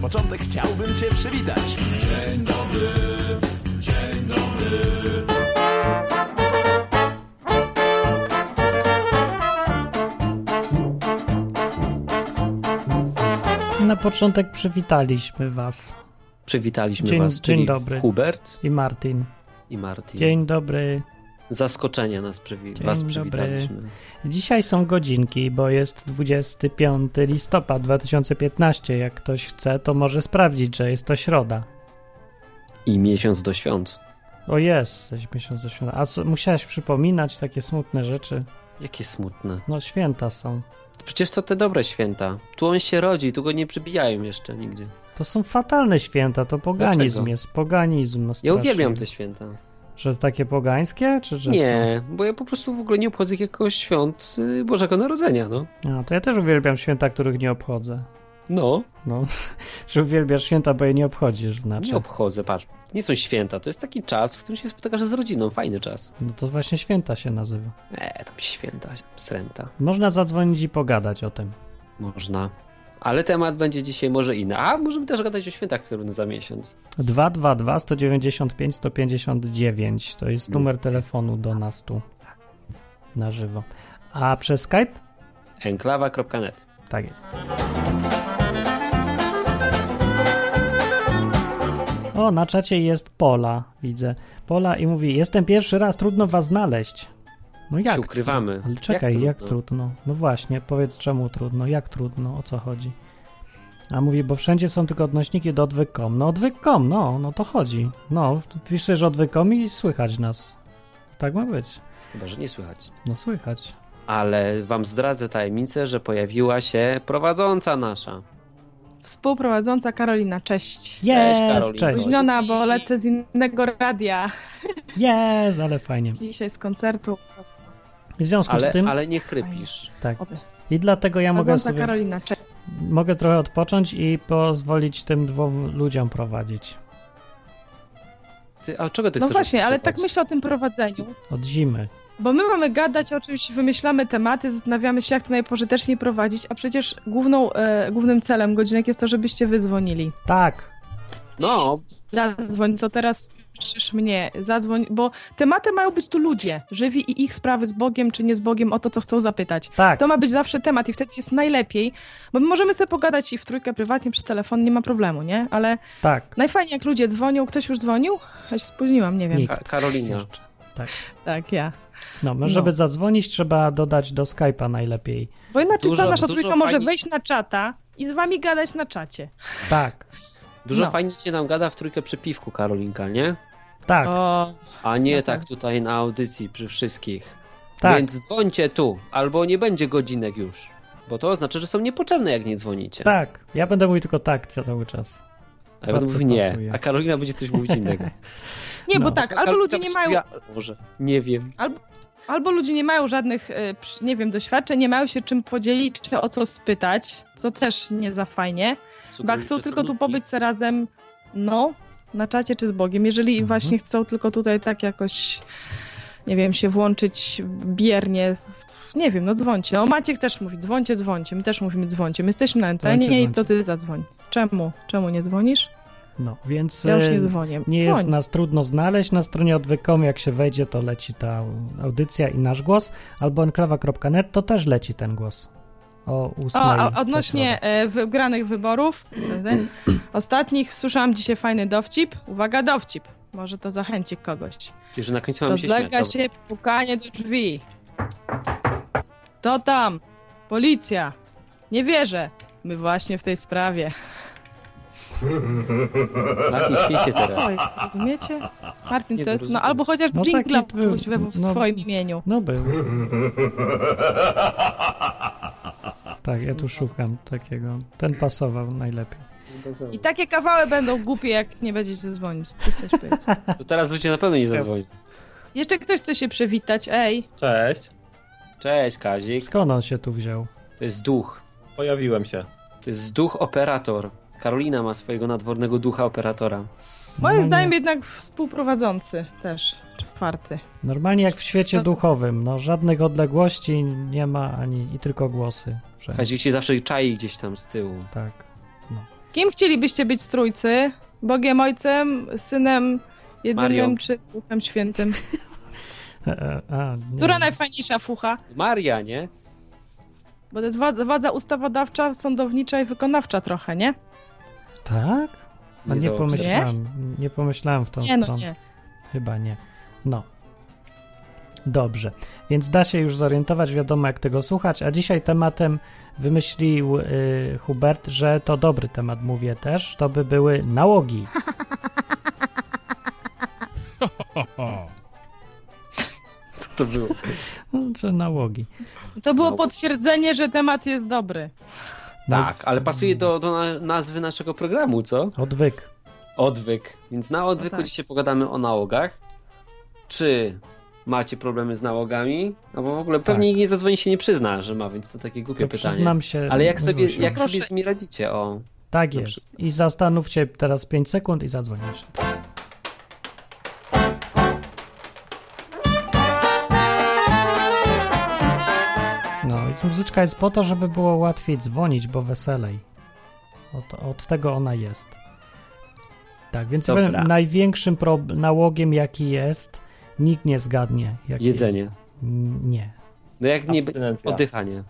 początek chciałbym Cię przywitać. Dzień dobry, dzień dobry. Na początek przywitaliśmy Was Przywitaliśmy Dzień- was, czyli dzień dobry. Hubert i Martin. i Martin. Dzień dobry. Zaskoczenia nas przywi- Dzień was dobry. przywitaliśmy. Dzisiaj są godzinki, bo jest 25 listopada 2015. Jak ktoś chce, to może sprawdzić, że jest to środa. I miesiąc do świąt. O jest, coś miesiąc do świąt. A co, musiałeś przypominać takie smutne rzeczy? Jakie smutne. No święta są. Przecież to te dobre święta. Tu on się rodzi, tu go nie przybijają jeszcze nigdzie. To są fatalne święta, to poganizm Dlaczego? jest, poganizm. Ja straszny. uwielbiam te święta. Że takie pogańskie, czy że Nie, bo ja po prostu w ogóle nie obchodzę jakiegoś świąt y, Bożego Narodzenia, no. co? A, to ja też uwielbiam święta, których nie obchodzę. No, No, że uwielbiasz święta, bo je nie obchodzisz, znaczy. nie obchodzę, patrz. Nie są święta, to jest taki czas, w którym się spotykasz z rodziną, fajny czas. No to właśnie święta się nazywa. E, tam święta, sręta. Można zadzwonić i pogadać o tym. Można. Ale temat będzie dzisiaj może inny. A możemy też gadać o świętach, które będą za miesiąc. 222 195 159 to jest numer telefonu do nas tu na żywo. A przez Skype? Enklawa.net. Tak jest. O, na czacie jest Pola, widzę. Pola i mówi, jestem pierwszy raz, trudno was znaleźć. No jak? Się ukrywamy. Ale czekaj, jak trudno? No właśnie, powiedz czemu trudno, jak trudno, o co chodzi. A mówi, bo wszędzie są tylko odnośniki do odwyk.com. No odwyk.com, no, no to chodzi. No, piszesz odwyk.com i słychać nas. Tak ma być. Chyba, że nie słychać. No słychać. Ale wam zdradzę tajemnicę, że pojawiła się prowadząca nasza. Współprowadząca Karolina, cześć. Jest, Karolino. cześć. No, Spóźniona, bo lecę z innego radia. Jest, ale fajnie. Dzisiaj z koncertu. W związku Ale, z tym, ale nie chrypisz. tak. Oby. I dlatego ja mogę Prowadząca sobie, Karolina, cześć. mogę trochę odpocząć i pozwolić tym dwóm ludziom prowadzić. Ty, a czego ty No chcesz? właśnie, ale odszukać? tak myślę o tym prowadzeniu, Od zimy. bo my mamy gadać o czymś, wymyślamy tematy, zastanawiamy się, jak to najpożyteczniej prowadzić, a przecież główną, e, głównym celem godzinek jest to, żebyście wyzwonili. Tak, No, Zadzwoń, co teraz słyszysz mnie, zadzwoń, bo tematy mają być tu ludzie, żywi i ich sprawy z Bogiem czy nie z Bogiem, o to, co chcą zapytać. tak. To ma być zawsze temat i wtedy jest najlepiej, bo my możemy sobie pogadać i w trójkę prywatnie przez telefon, nie ma problemu, nie? Ale Tak. najfajniej jak ludzie dzwonią, ktoś już dzwonił? Ja się spóźniłam, nie wiem. Nikt. Ka- Karolina. Jeszcze. Tak. Tak, ja. No, no, żeby zadzwonić, trzeba dodać do Skype'a najlepiej. Bo inaczej Dużo- cała nasza dużo trójka może fajniej- wejść na czata i z wami gadać na czacie. Tak, Dużo No. fajnie się nam gada w trójkę przy piwku, Karolinka, nie? tak, O, A nie No tak. tak tutaj na audycji przy wszystkich. tak. Więc dzwońcie tu, albo nie będzie godzinek już. Bo to oznacza, że są niepotrzebne, jak nie dzwonicie. Tak, ja będę mówił tylko tak cały czas. A ja będę Bardzo mówił nie, pasuje. a Karolina będzie coś mówić innego. nie, No. bo tak, albo Karolina ludzie nie będzie mają, mówiła, Może, nie wiem. albo ludzie nie mają żadnych, e, przy- nie wiem, doświadczeń, nie mają się czym podzielić czy o co spytać, co też nie za fajnie. Ba chcą tylko tu pobyć se razem, no, na czacie czy z Bogiem. Jeżeli Mhm. właśnie chcą tylko tutaj tak jakoś, nie wiem, się włączyć biernie, nie wiem, no dzwońcie. No Maciek też mówi, dzwońcie, dzwońcie. My też mówimy, dzwońcie. My jesteśmy na antenie Dzwońcie, i to ty zadzwoń. Czemu? Czemu nie dzwonisz? No, więc Ja już e, nie dzwonię. nie Dzwoń. jest nas trudno znaleźć. Na stronie odwykom, jak się wejdzie, to leci ta audycja i nasz głos. Albo enklawa.net, to też leci ten głos. O, O, ósmej a co odnośnie środę. e, wygranych wyborów, e, ostatnich słyszałam dzisiaj fajny dowcip. Uwaga, dowcip. Może to zachęci kogoś. Czyli, że na końcu mam się śmiać. Rozlega Dobra. się pukanie do drzwi. To tam? Policja. Nie wierzę. My właśnie w tej sprawie. Martin, śmiej się Co teraz. jest, rozumiecie? Martin, Nie to jest, no rozumiem. albo chociaż No taki dżingla był, puść we- w no. swoim imieniu. No był. Tak, ja tu szukam takiego. Ten pasował najlepiej. I takie kawały będą głupie, jak nie będziecie zadzwonić. Co chciałeś powiedzieć? To teraz ludzie na pewno nie zadzwoni. Jeszcze ktoś chce się przywitać, ej. Cześć, Cześć, Kazik. Skąd on się tu wziął? To jest duch. pojawiłem się. To jest duch operator. Karolina ma swojego nadwornego ducha operatora. Moim Normalnie- zdaniem jednak współprowadzący też, czwarty. Normalnie jak w świecie duchowym, no żadnych odległości nie ma ani i tylko głosy. Wszędzie. Kazik się zawsze czai gdzieś tam z tyłu. Tak. No. Kim chcielibyście być z trójcy? Bogiem Ojcem, Synem Jedynym Marią. czy Duchem Świętym? E, e, a, nie. Która najfajniejsza fucha? Maria, nie? Bo to jest władza, władza ustawodawcza, sądownicza i wykonawcza trochę, nie? Tak? No nie zaobserwuję. pomyślałem. Nie pomyślałem w tą Nie, no stronę. nie. Chyba nie. No. Dobrze, więc da się już zorientować, wiadomo jak tego słuchać, a dzisiaj tematem wymyślił y, Hubert, że to dobry temat, mówię też, to by były nałogi. Ho, ho. Co to było? Że nałogi. To było No. potwierdzenie, że temat jest dobry. No Tak, w- ale pasuje do, do na- nazwy naszego programu, co? Odwyk. Odwyk. Więc na odwyku tak. dzisiaj pogadamy o nałogach. Czy macie problemy z nałogami? Albo w ogóle pewnie nikt nie zadzwoni się nie przyzna, że ma, więc to takie głupie Tak. To pytanie. przyznam się. Ale jak sobie, Zosiu. jak sobie Proszę. z nimi radzicie? O, Tak na jest. I zastanów się teraz 5 sekund i zadzwonisz. No, więc muzyczka jest po to, żeby było łatwiej dzwonić, bo weselej. Od, od tego ona jest. Tak, więc ja Dobra. powiem, największym prob- nałogiem, jaki jest, nikt nie zgadnie. Jaki jedzenie. Tak Jest. N- Nie. No jak nie... Abstynencja. Oddychanie.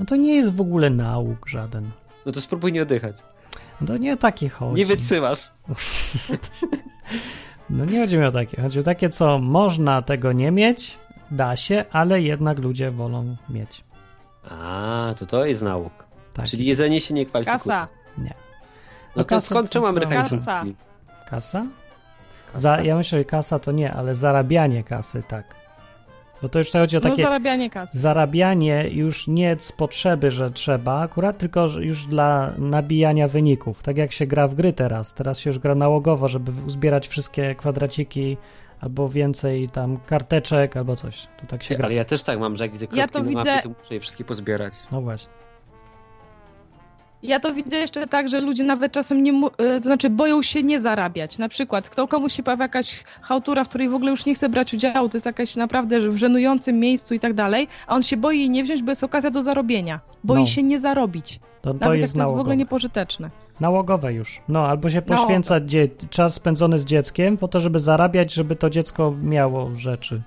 No to nie jest w ogóle nauk żaden. No to spróbuj nie oddychać. No to nie taki chodzi. Nie wytrzymasz. No nie chodzi mi o takie. Chodzi o takie, co można tego nie mieć, da się, ale jednak ludzie wolą mieć. A, to to jest nauk. Tak. Czyli jedzenie się nie kwalifikuje. Kasa. No to kasa skąd, czemu to- Amerykanie Kasa. są Kasa? Za, ja myślę, że kasa to nie, ale zarabianie kasy, tak. Bo to już tutaj chodzi o No takie zarabianie kasy. zarabianie już nie z potrzeby, że trzeba, akurat tylko że już dla nabijania wyników. Tak jak się gra w gry teraz. Teraz się już gra nałogowo, żeby w- uzbierać wszystkie kwadraciki albo więcej tam karteczek albo coś. To tak się gra. Ale ja też tak mam, że jak widzę kropki Ja to na mapie, widzę- to muszę je wszystkie pozbierać. No właśnie. Ja to widzę jeszcze tak, że ludzie nawet czasem nie, mu- y, to znaczy boją się nie zarabiać. Na przykład, kto komuś się pojawia jakaś chałtura, w której w ogóle już nie chce brać udziału, to jest jakaś naprawdę w żenującym miejscu i tak dalej, a on się boi jej nie wziąć, bo jest okazja do zarobienia. Boi No. się nie zarobić. To, to jest Nawet jak No tak to jest w ogóle nałogowe. niepożyteczne. Nałogowe już. No, albo się poświęca dzie- czas spędzony z dzieckiem po to, żeby zarabiać, żeby to dziecko miało rzeczy.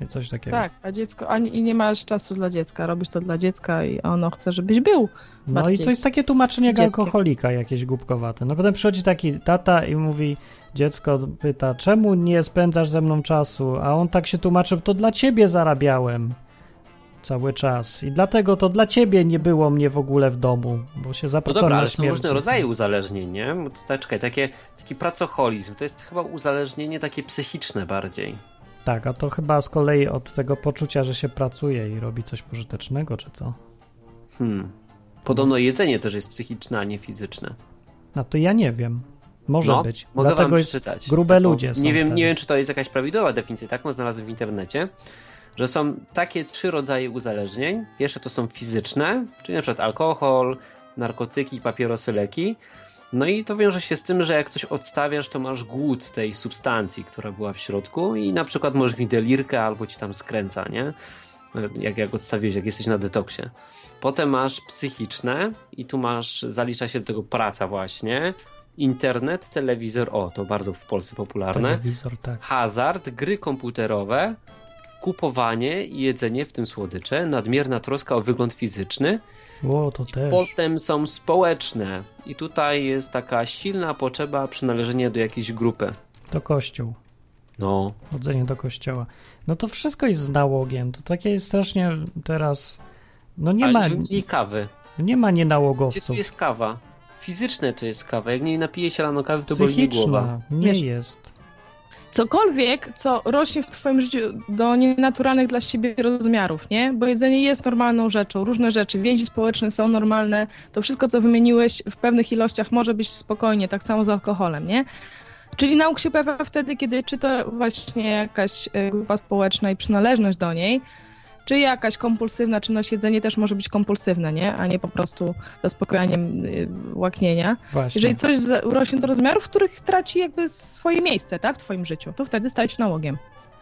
Nie, Coś takiego. Tak, a dziecko, a nie, i nie masz czasu dla dziecka, robisz to dla dziecka i ono chce, żebyś był. no i to bardziej jest takie tłumaczenie jak dzieckiem. alkoholika jakieś głupkowate. No potem przychodzi taki tata i mówi, dziecko pyta, czemu nie spędzasz ze mną czasu? A on tak się tłumaczy, to dla ciebie zarabiałem cały czas. I dlatego to dla ciebie nie było mnie w ogóle w domu, bo się No zapracowałem dobra, na ale są śmierć. różne rodzaje uzależnień, nie? Bo tutaj, czekaj, takie, taki pracoholizm, to jest chyba uzależnienie takie psychiczne bardziej. Tak, a to chyba z kolei od tego poczucia, że się pracuje i robi coś pożytecznego, czy co? Hmm. Podobno jedzenie też jest psychiczne, a nie fizyczne. A to ja nie wiem. Może no, być. Mogę Dlatego wam jest przeczytać. grube ludzie są Nie wiem, wtedy. nie wiem, czy to jest jakaś prawidłowa definicja, taką znalazłem w internecie, że są takie trzy rodzaje uzależnień. Pierwsze to są fizyczne, czyli na przykład alkohol, narkotyki, papierosy, leki. No i to wiąże się z tym, że jak coś odstawiasz, to masz głód tej substancji, która była w środku i na przykład możesz mieć delirkę albo ci tam skręca, nie? Jak, jak odstawiłeś, jak jesteś na detoksie. Potem masz psychiczne i tu masz, zalicza się do tego praca właśnie. Internet, telewizor, o, to bardzo w Polsce popularne. Telewizor, tak. Hazard, gry komputerowe, kupowanie i jedzenie, w tym słodycze, nadmierna troska o wygląd fizyczny. Ło, to też. Potem są społeczne i tutaj jest taka silna potrzeba przynależenia do jakiejś grupy. To kościół. No, Chodzenie do kościoła. No to wszystko jest z nałogiem. To takie jest strasznie teraz... No nie ma, ale i kawy. nie ma Gdzie tu nienałogowców. jest kawa? Fizyczne to jest kawa. Jak nie napije się rano kawy, to boli mnie głowa. Psychiczna. Nie Wiesz- jest. Cokolwiek, co rośnie w twoim życiu do nienaturalnych dla siebie rozmiarów, nie? Bo jedzenie jest normalną rzeczą, różne rzeczy, więzi społeczne są normalne, to wszystko, co wymieniłeś w pewnych ilościach może być spokojnie, tak samo z alkoholem, nie? Czyli nauk się pojawia wtedy, kiedy czy to właśnie jakaś e, grupa społeczna i przynależność do niej, czy jakaś kompulsywna czynność, jedzenie też może być kompulsywne, nie? A nie po prostu zaspokajaniem y, łaknienia. Właśnie. Jeżeli coś za- urośnie do rozmiarów, w których traci jakby swoje miejsce, tak, w twoim życiu, to wtedy staje się nałogiem.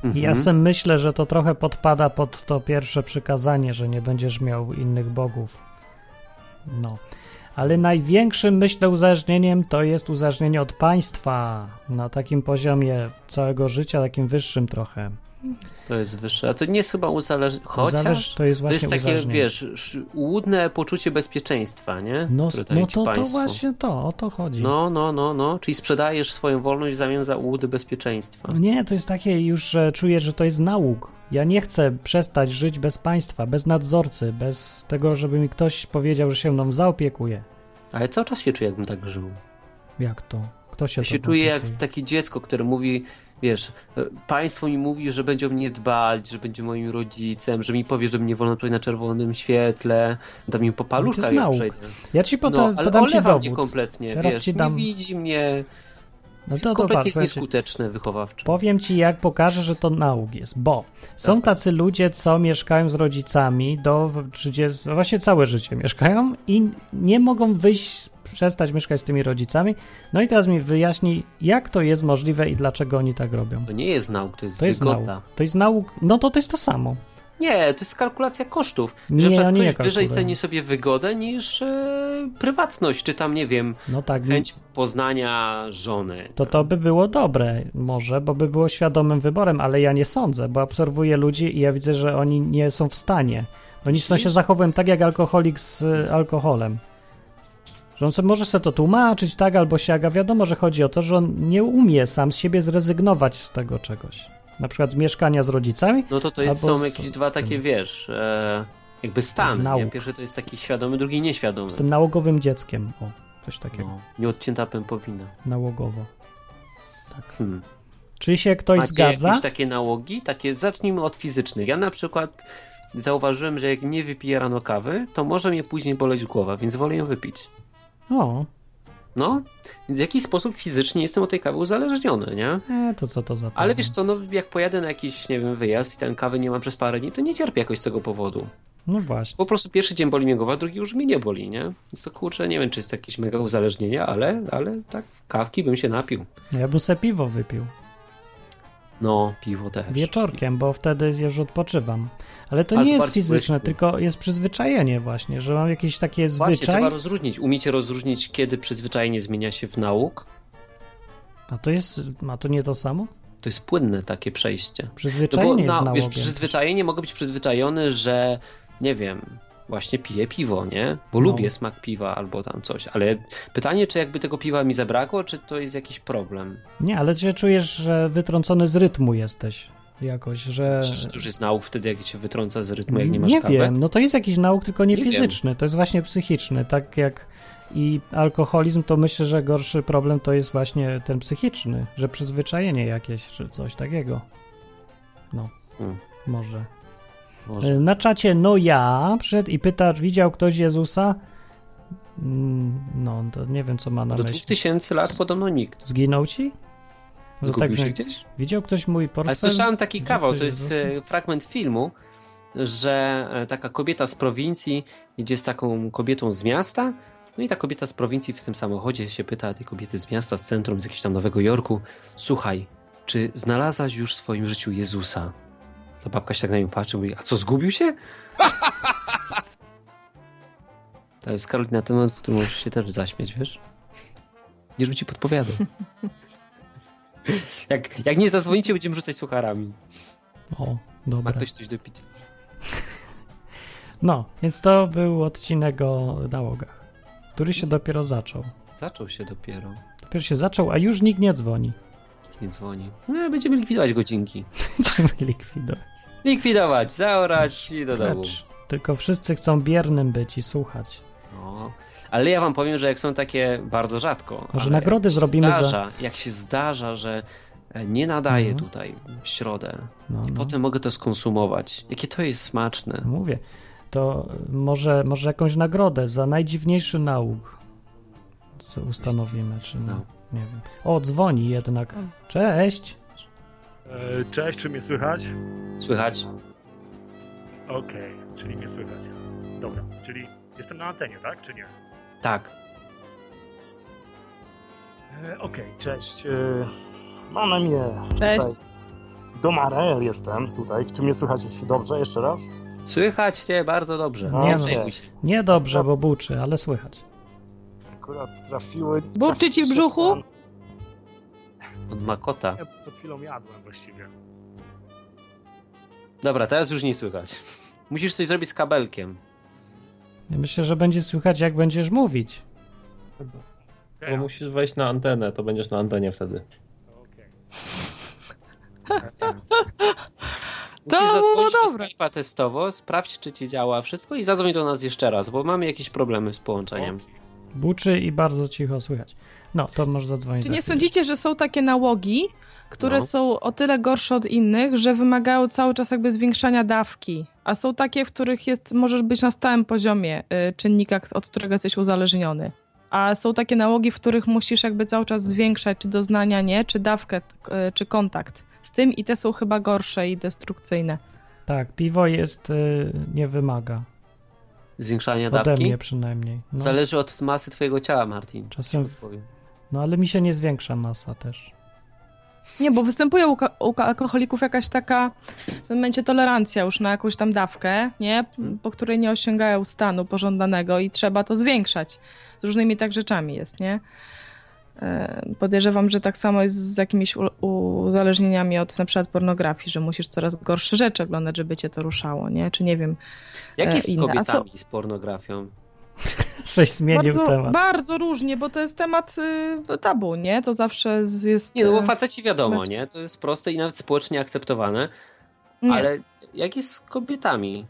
I Mhm. Ja sam myślę, że to trochę podpada pod to pierwsze przykazanie, że nie będziesz miał innych bogów. No. Ale największym, myślę, uzależnieniem to jest uzależnienie od państwa na takim poziomie całego życia, takim wyższym trochę. To jest wyższe. A to nie jest chyba uzależnienie. Chociaż Uzależ- to jest to właśnie jest takie, uzależnienie. wiesz, sz- łudne poczucie bezpieczeństwa, nie? no, Które daje no ci to, to państwo. właśnie to, o to chodzi. No, no, no, no. Czyli sprzedajesz swoją wolność w zamian za łudy bezpieczeństwa. Nie, to jest takie już, że czuję, że to jest nauk. Ja nie chcę przestać żyć bez państwa, bez nadzorcy, bez tego, żeby mi ktoś powiedział, że się mną zaopiekuje. Ale cały czas się czuję, jakbym tak żył. Jak to? Kto się Ja się tobą czuję jak opiekuje? takie dziecko, które mówi, wiesz, e, państwo mi mówi, że będzie o mnie dbać, że będzie moim rodzicem, że mi powie, że mnie wolno przejść na czerwonym świetle, da mi No popaluszka, to jest jak nauk. przejdę. Ja ci poda, No, ale podam ci olewa mnie dowód. kompletnie, Teraz wiesz, ci dam- nie widzi mnie, No to, to kompletnie patrz, jest słuchajcie. nieskuteczny wychowawczy. Powiem ci, jak pokażę, że to nauk jest, bo są Dawaj. tacy ludzie, co mieszkają z rodzicami do 30, no właśnie całe życie mieszkają i nie mogą wyjść, przestać mieszkać z tymi rodzicami. No i teraz mi wyjaśnij, jak to jest możliwe i dlaczego oni tak robią. To nie jest nauk, to jest To jest nauk. wygoda. To jest nauk, no to to jest to samo. Nie, to jest kalkulacja kosztów. Że Nie, na przykład oni nie ktoś wyżej kalkulują. ceni sobie wygodę niż e, prywatność, czy tam, nie wiem, No tak, chęć poznania żony. to to by było dobre może, bo by było świadomym wyborem, ale ja nie sądzę, bo obserwuję ludzi i ja widzę, że oni nie są w stanie. Oni są Mhm. się zachowują tak jak alkoholik z y, alkoholem. Że on sobie, może sobie to tłumaczyć, tak, albo siaga. Wiadomo, że chodzi o to, że on nie umie sam z siebie zrezygnować z tego czegoś. Na przykład z mieszkania z rodzicami. No to to jest, Albo są z- jakieś dwa takie, tym. wiesz, e, jakby stany. nie? nauk. Pierwszy to jest taki świadomy, drugi nieświadomy. Z tym nałogowym dzieckiem. O, coś takiego. No, nieodcięta pępowina. Nałogowo. Tak. Hmm. Czy się ktoś Macie zgadza? jakieś takie nałogi? Takie, zacznijmy od fizycznych. Ja na przykład zauważyłem, że jak nie wypiję rano kawy, to może mnie później boleć głowa, więc wolę ją wypić. O, No, więc w jakiś sposób fizycznie jestem od tej kawy uzależniony, nie? e, to co to za Ale problem? wiesz co, no jak pojadę na jakiś, nie wiem, wyjazd i tam kawy nie mam przez parę dni, to nie cierpię jakoś z tego powodu. No właśnie. Po prostu pierwszy dzień boli mnie głowa, drugi już mi nie boli, nie? Więc to kurczę, nie wiem, czy jest jakieś mega uzależnienie, ale, ale tak, kawki bym się napił. Ja bym se piwo wypił. Tak No, piwo też. Wieczorkiem, bo wtedy już odpoczywam. Ale to Ale nie to jest bardziej fizyczne, myśli. tylko jest przyzwyczajenie właśnie, że mam jakieś takie No Właśnie, zwyczaj, trzeba rozróżnić. Umiecie rozróżnić, kiedy przyzwyczajenie zmienia się w nauk? a to jest, a to nie to samo? To jest płynne takie przejście. No bo Przyzwyczajenie jest na, nałogiem. wiesz, przyzwyczajenie, mogę być przyzwyczajony, że nie wiem, właśnie piję piwo, nie? Bo No. lubię smak piwa albo tam coś, ale pytanie, czy jakby tego piwa mi zabrakło, czy to jest jakiś problem? Nie, ale się czujesz, że wytrącony z rytmu jesteś jakoś, że... Czy to już jest nauk wtedy, jak cię wytrąca z rytmu, jak nie masz kawy? E, wiem, no to jest jakiś nauk, tylko nie, Nie wiem. fizyczny, to jest właśnie psychiczny, tak jak i alkoholizm, to myślę, że gorszy problem to jest właśnie ten psychiczny, że przyzwyczajenie jakieś, czy coś takiego. No, Hmm. może. Może. Y, Na czacie no ja przyszedł i pyta, czy widział ktoś Jezusa? Mm, No, to nie wiem, co ma na Do 2000 myśli. tysięcy lat podobno nikt. Zginął ci? Bo No to tak, Zgubił się że- gdzieś? Widział ktoś mój portfel? Ale słyszałem taki Gdzie kawał, ktoś to jest Jezusa? e, fragment filmu, że e, taka kobieta z prowincji idzie z taką kobietą z miasta, no i ta kobieta z prowincji w tym samochodzie się pyta tej kobiety z miasta, z centrum, z jakiegoś tam Nowego Jorku, słuchaj, czy znalazłaś już w swoim życiu Jezusa? Ta babka się tak na nią patrzy, mówi, a co, zgubił się? To jest Karolina ten moment, w którym możesz się też zaśmieć, wiesz? Nie, żebym ci podpowiadał. Jak, jak nie zadzwonicie, będziemy rzucać sucharami. O, Ma dobra. ktoś coś do picia. No, więc to był odcinek o nałogach, który się dopiero zaczął. Zaczął się dopiero. Dopiero się zaczął, a już nikt nie dzwoni. Nikt nie dzwoni. No, będziemy likwidować godzinki. Będziemy likwidować. Likwidować, zaorać i do domu. Precz. Tylko wszyscy chcą biernym być i słuchać. No. Ale ja wam powiem, że jak są takie bardzo rzadko. Może ale nagrody jak się zrobimy za- zdarza, Jak się zdarza, że e, nie nadaję Mhm. tutaj w środę No, i no. potem mogę to skonsumować. Jakie to jest smaczne. Mówię, to może, może jakąś nagrodę za najdziwniejszy nauk co ustanowimy, czy no, No. nie wiem. O, dzwoni jednak. Cześć! E, Cześć, czy mnie słychać? Słychać? Okej, czyli mnie słychać. Dobra, czyli jestem na antenie, tak, czy nie? Tak. E, Okej, cześć. E, Mam na imię. tutaj Cześć. Domarel jestem tutaj. Czy mnie słychać dobrze? Jeszcze raz? Słychać cię bardzo dobrze. No, nie, cześć. Przejmuj się. nie dobrze, bo buczy, ale słychać. akurat trafiły. Burczy ci w brzuchu? Od Makota. Ja przed chwilą jadłem właściwie. Dobra, teraz już nie słychać. Musisz coś zrobić z kabelkiem. Ja myślę, że będzie słychać, jak będziesz mówić. Bo musisz wejść na antenę, to będziesz na antenie wtedy. Okej. To Musisz było zadzwonić do dobre. Skype'a testowo, sprawdź czy ci działa wszystko i zadzwoń do nas jeszcze raz, bo mamy jakieś problemy z połączeniem. Buczy i bardzo cicho słychać. No, to może zadzwonić. Czy za nie chwilę. sądzicie, że są takie nałogi, które No. są o tyle gorsze od innych, że wymagają cały czas jakby zwiększania dawki, a są takie, w których jest, możesz być na stałym poziomie y, czynnika, k- od którego jesteś uzależniony. A są takie nałogi, w których musisz jakby cały czas zwiększać czy doznania, nie, czy dawkę, t- y, czy kontakt. Z tym i te są chyba gorsze i destrukcyjne. Tak, piwo jest, y, nie wymaga. Zwiększania Ode dawki? mnie przynajmniej. No, Zależy od masy twojego ciała, Martin. Czasem, w- Powiem. no ale mi się nie zwiększa masa też. Nie, bo występuje u, ka- u ka- alkoholików jakaś taka w tym momencie tolerancja już na jakąś tam dawkę, nie? Po której nie osiągają stanu pożądanego i trzeba to zwiększać. Z różnymi tak rzeczami jest, nie? E, Podejrzewam, że tak samo jest z jakimiś u- uzależnieniami od na przykład pornografii, że musisz coraz gorsze rzeczy oglądać, żeby cię to ruszało, nie? Czy nie wiem. Jak E, jest z inne. A kobietami, z pornografią? Coś zmienił Bardzo, temat. bardzo różnie, bo to jest temat y, tabu, nie? To zawsze z- jest... Nie, no bo y, faceci wiadomo, Zobacz. nie? To jest proste i nawet społecznie akceptowane, nie. ale jak jest z kobietami?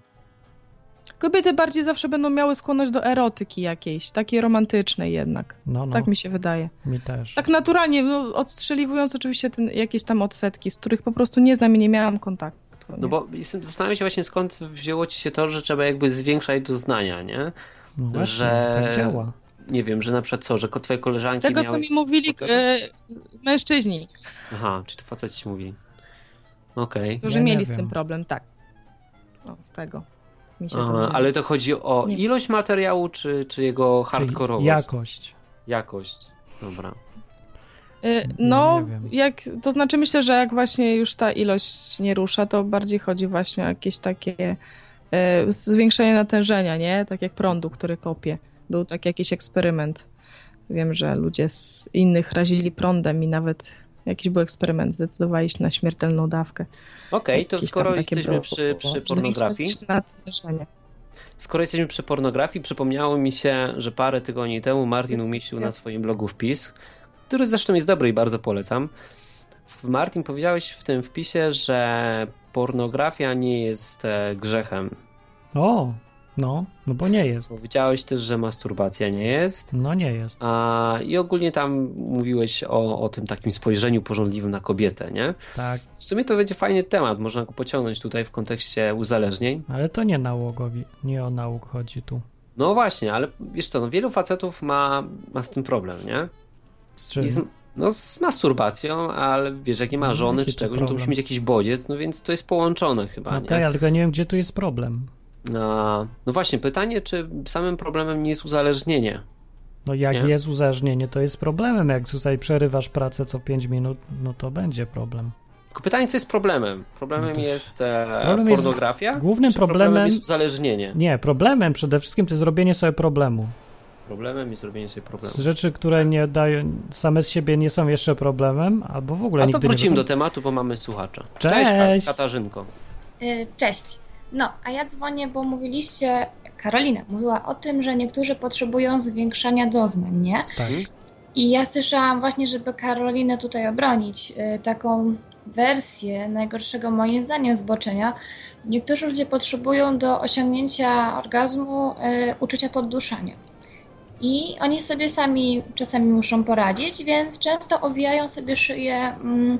Kobiety bardziej zawsze będą miały skłonność do erotyki jakiejś, takiej romantycznej jednak. No, no, Tak mi się wydaje. mi też. Tak naturalnie, no, odstrzeliwując oczywiście ten, jakieś tam odsetki, z których po prostu nie znam i nie miałam kontaktu. Nie? No bo jestem- zastanawiam się właśnie skąd wzięło ci się to, że trzeba jakby zwiększać doznania, nie? No właśnie, że- tak działa. Nie wiem, że na przykład co, że ko- twoje koleżanki Tego, miały co mi jakieś mówili problemy? e, mężczyźni, Aha, czy to faceci ci mówili? Okej. którzy Ja nie mieli z wiem. tym problem, tak. O, z tego. Mi się Aha, to Ale to chodzi o Nie. ilość materiału, czy, czy jego Czyli hardkorowość? Jakość. Jakość. Dobra. Y, No, No, nie wiem. jak, to znaczy myślę, że jak właśnie już ta ilość nie rusza, to bardziej chodzi właśnie o jakieś takie y, zwiększenie natężenia, nie? Tak jak prądu, który kopie. Był taki jakiś eksperyment. Wiem, że ludzie z innych razili prądem i nawet jakiś był eksperyment, zdecydowali się na śmiertelną dawkę. Okej, to Jakieś tam skoro takie jesteśmy było, przy, przy zwiększenie pornografii, natężenia. skoro jesteśmy przy pornografii, przypomniało mi się, że parę tygodni temu Martin umieścił na swoim blogu wpis, który zresztą jest dobry i bardzo polecam. Martin, powiedziałeś w tym wpisie, że pornografia nie jest e, grzechem. O, no, no bo nie jest. Powiedziałeś też, że masturbacja nie jest. No nie jest. A, I ogólnie tam mówiłeś o, o tym takim spojrzeniu pożądliwym na kobietę, nie? Tak, W sumie to będzie fajny temat, można go pociągnąć tutaj w kontekście uzależnień. ale to nie nałogowi, nie o nauk chodzi tu. No właśnie, ale wiesz co, no wielu facetów ma, ma z tym problem, nie? Z czym? I z, no z masturbacją, ale wiesz, jak nie ma No, żony jaki czy to czegoś, no to problem? musi mieć jakiś bodziec, no więc to jest połączone chyba, No tak, nie? ale tylko nie wiem, gdzie tu jest problem. A, no właśnie, pytanie, czy samym problemem nie jest uzależnienie? No jak Nie. jest uzależnienie, to jest problemem. Jak tutaj przerywasz pracę co 5 minut, no to będzie problem. Tylko pytanie, co jest problemem? Problemem No to- jest e, Problem jest- pornografia? Głównym czy problemem problemem... jest uzależnienie? Nie, problemem przede wszystkim to jest zrobienie sobie problemu. Problemem jest robienie sobie problemu. Z rzeczy, które nie dają, same z siebie nie są jeszcze problemem, albo w ogóle A to nigdy wrócimy nie do tematu, bo mamy słuchacza. Cześć! Cześć Katarzynko. Y, Cześć. No, a ja dzwonię, bo mówiliście, Karolina mówiła o tym, że niektórzy potrzebują zwiększania doznań, nie? Tak. I ja słyszałam właśnie, żeby Karolinę tutaj obronić, y, taką wersję najgorszego moim zdaniem zboczenia. Niektórzy ludzie potrzebują do osiągnięcia orgazmu y, uczucia podduszania. I oni sobie sami czasami muszą poradzić, więc często owijają sobie szyję mm,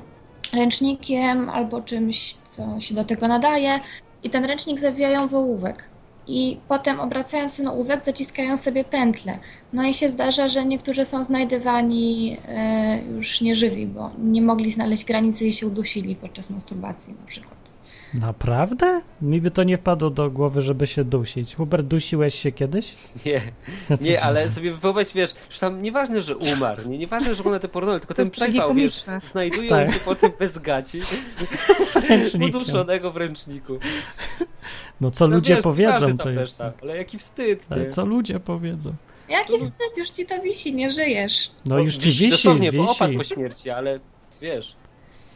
ręcznikiem albo czymś, co się do tego nadaje, i ten ręcznik zawijają w ołówek. I potem obracając ten ołówek, zaciskają sobie pętlę. No i się zdarza, że niektórzy są znajdywani e, już nieżywi, bo nie mogli znaleźć granicy i się udusili podczas masturbacji na przykład. Naprawdę? Mi by to nie wpadło do głowy, żeby się dusić. Hubert, dusiłeś się kiedyś? Nie, nie, ale sobie wyobraź, wiesz, że tam nieważne, że umarł, nie, nieważne, że był na te pornole, tylko To ten jest przypał, wiesz, tragikomiczne. znajdują Tak. się potem bez gaci, Ręcznikiem. uduszonego w ręczniku. No co No ludzie wiesz, powiedzą, każdy to tam jest... też tak, Ale jaki wstyd, Ale nie? co ludzie powiedzą? Jaki wstyd, już ci to wisi, nie żyjesz. No już ci wisi, Dosłownie, bo opadł wisi. po śmierci, ale wiesz.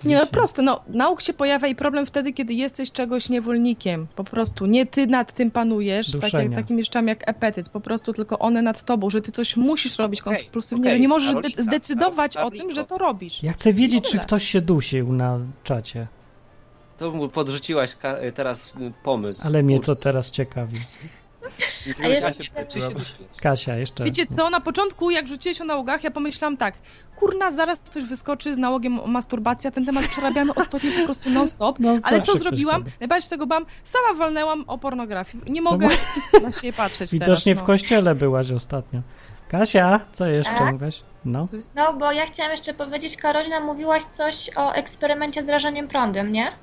Nie no, proste, no, nauk się pojawia i problem wtedy, kiedy jesteś czegoś niewolnikiem. Po prostu nie ty nad tym panujesz, tak jak, Duszenia. takim rzeczami jak epetyt, po prostu tylko one nad tobą, że ty coś musisz robić Okej, kompulsywnie, okej, że nie możesz Karolina, de- zdecydować Karolina, o tym, że to robisz. Ja chcę wiedzieć, czy Dobra. ktoś się dusił na czacie, To mu podrzuciłaś ka- teraz y, pomysł. ale mnie to Kurczę. teraz ciekawi. A jeszcze- Czy się dusiłeś? Kasia, jeszcze. Wiecie co, na początku jak rzuciłeś o nałogach, ja pomyślałam tak, kurna, zaraz coś wyskoczy z nałogiem o masturbacja, ten temat przerabiamy ostatnio po prostu non-stop. No, Ale zawsze co ktoś zrobiłam? powie. Najbardziej z tego bam, sama walnęłam o pornografii. Nie mogę na siebie patrzeć Widocznie teraz. w no. kościele byłaś ostatnio. Kasia, co jeszcze Tak? mówisz? No, No, bo ja chciałam jeszcze powiedzieć, Karolina, mówiłaś coś o eksperymencie z rażeniem prądem, nie? No.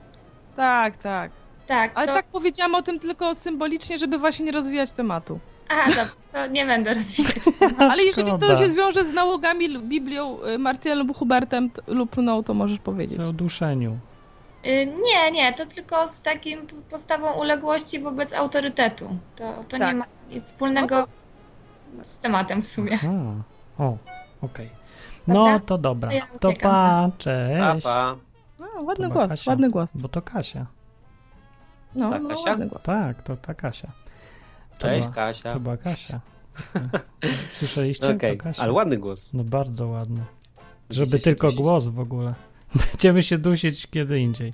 Tak, tak. Tak, Ale to... tak powiedziałam o tym tylko symbolicznie, żeby właśnie nie rozwijać tematu. Aha, dobra, to nie będę rozwijać. Ale jeżeli No Szkoda. to się zwiąże z nałogami, lub Biblią, y, Martynem lub Hubertem t- lub no, to możesz powiedzieć. co o duszeniu. Y, Nie, nie, to tylko z takim p- postawą uległości wobec autorytetu. To, to nie Tak. ma nic wspólnego z tematem w sumie. A, o, okej. Dobra. No to dobra. To ja To uciekam, tak? pa, Pa, cześć. pa. No, ładny To głos, Kasia. ładny głos. Bo to Kasia. No, Tak, no Kasia? ładny głos. Tak, to ta Kasia. To Cześć, była, Kasia. To była Kasia. Słyszeliście? Okej, To Kasia. ale ładny głos. No bardzo ładny. Będziecie Żeby się tylko dusić? głos w ogóle. Będziemy się dusić kiedy indziej.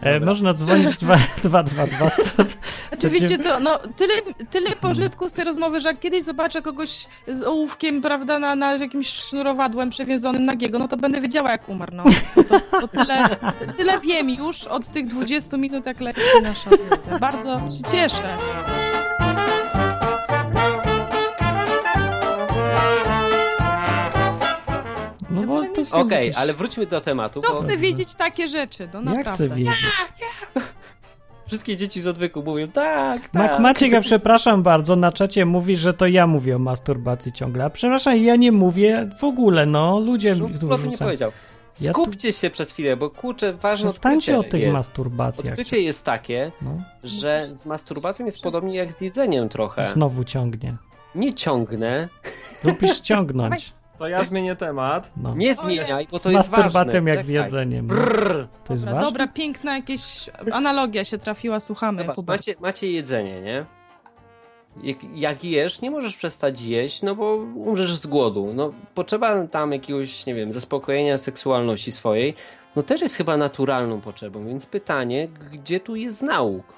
E, Dobra. można dzwonić 222 Znaczy wiecie co, no tyle, tyle Mhm. pożytku z tej rozmowy, że jak kiedyś zobaczę kogoś z ołówkiem, prawda, na, na jakimś sznurowadłem przewiązanym nagiego, no to będę wiedziała jak umarł, no. To, to tyle, tyle wiem już od tych 20 minut, jak leci nasza wiedza. Bardzo się cieszę. No bo to są Okej, jakieś- ale wróćmy do tematu. Kto bo chce wiedzieć takie rzeczy? No Ja chcę naprawdę. wiedzieć. Wszystkie dzieci z odwyku mówią tak, Mac tak. Maciek, ja przepraszam bardzo, na czacie mówi, że to ja mówię o masturbacji ciągle. A przepraszam, ja nie mówię w ogóle, no ludzie Żółw tu Plot nie rzucają. powiedział. Ja tu- Skupcie się przez chwilę, bo kurczę, ważne Przestańcie o odkrycie tych jest. masturbacjach. Odkrycie jest takie, No, że z masturbacją jest podobnie jak z jedzeniem trochę. znowu ciągnie. Nie ciągnę, Lubisz ciągnąć. To ja zmienię temat. No. nie zmieniaj, bo Z to jest ważne. masturbacją jak Czekaj. z jedzeniem. no. Brrr. To jest Dobra, ważne? dobra, piękna jakaś analogia się trafiła, słuchamy. Zobacz, No Kuba. macie, macie jedzenie, nie? Jak, jak jesz, nie możesz przestać jeść, no bo umrzesz z głodu. No, potrzeba tam jakiegoś, nie wiem, zaspokojenia seksualności swojej. No też jest chyba naturalną potrzebą, więc pytanie, gdzie tu jest nauk?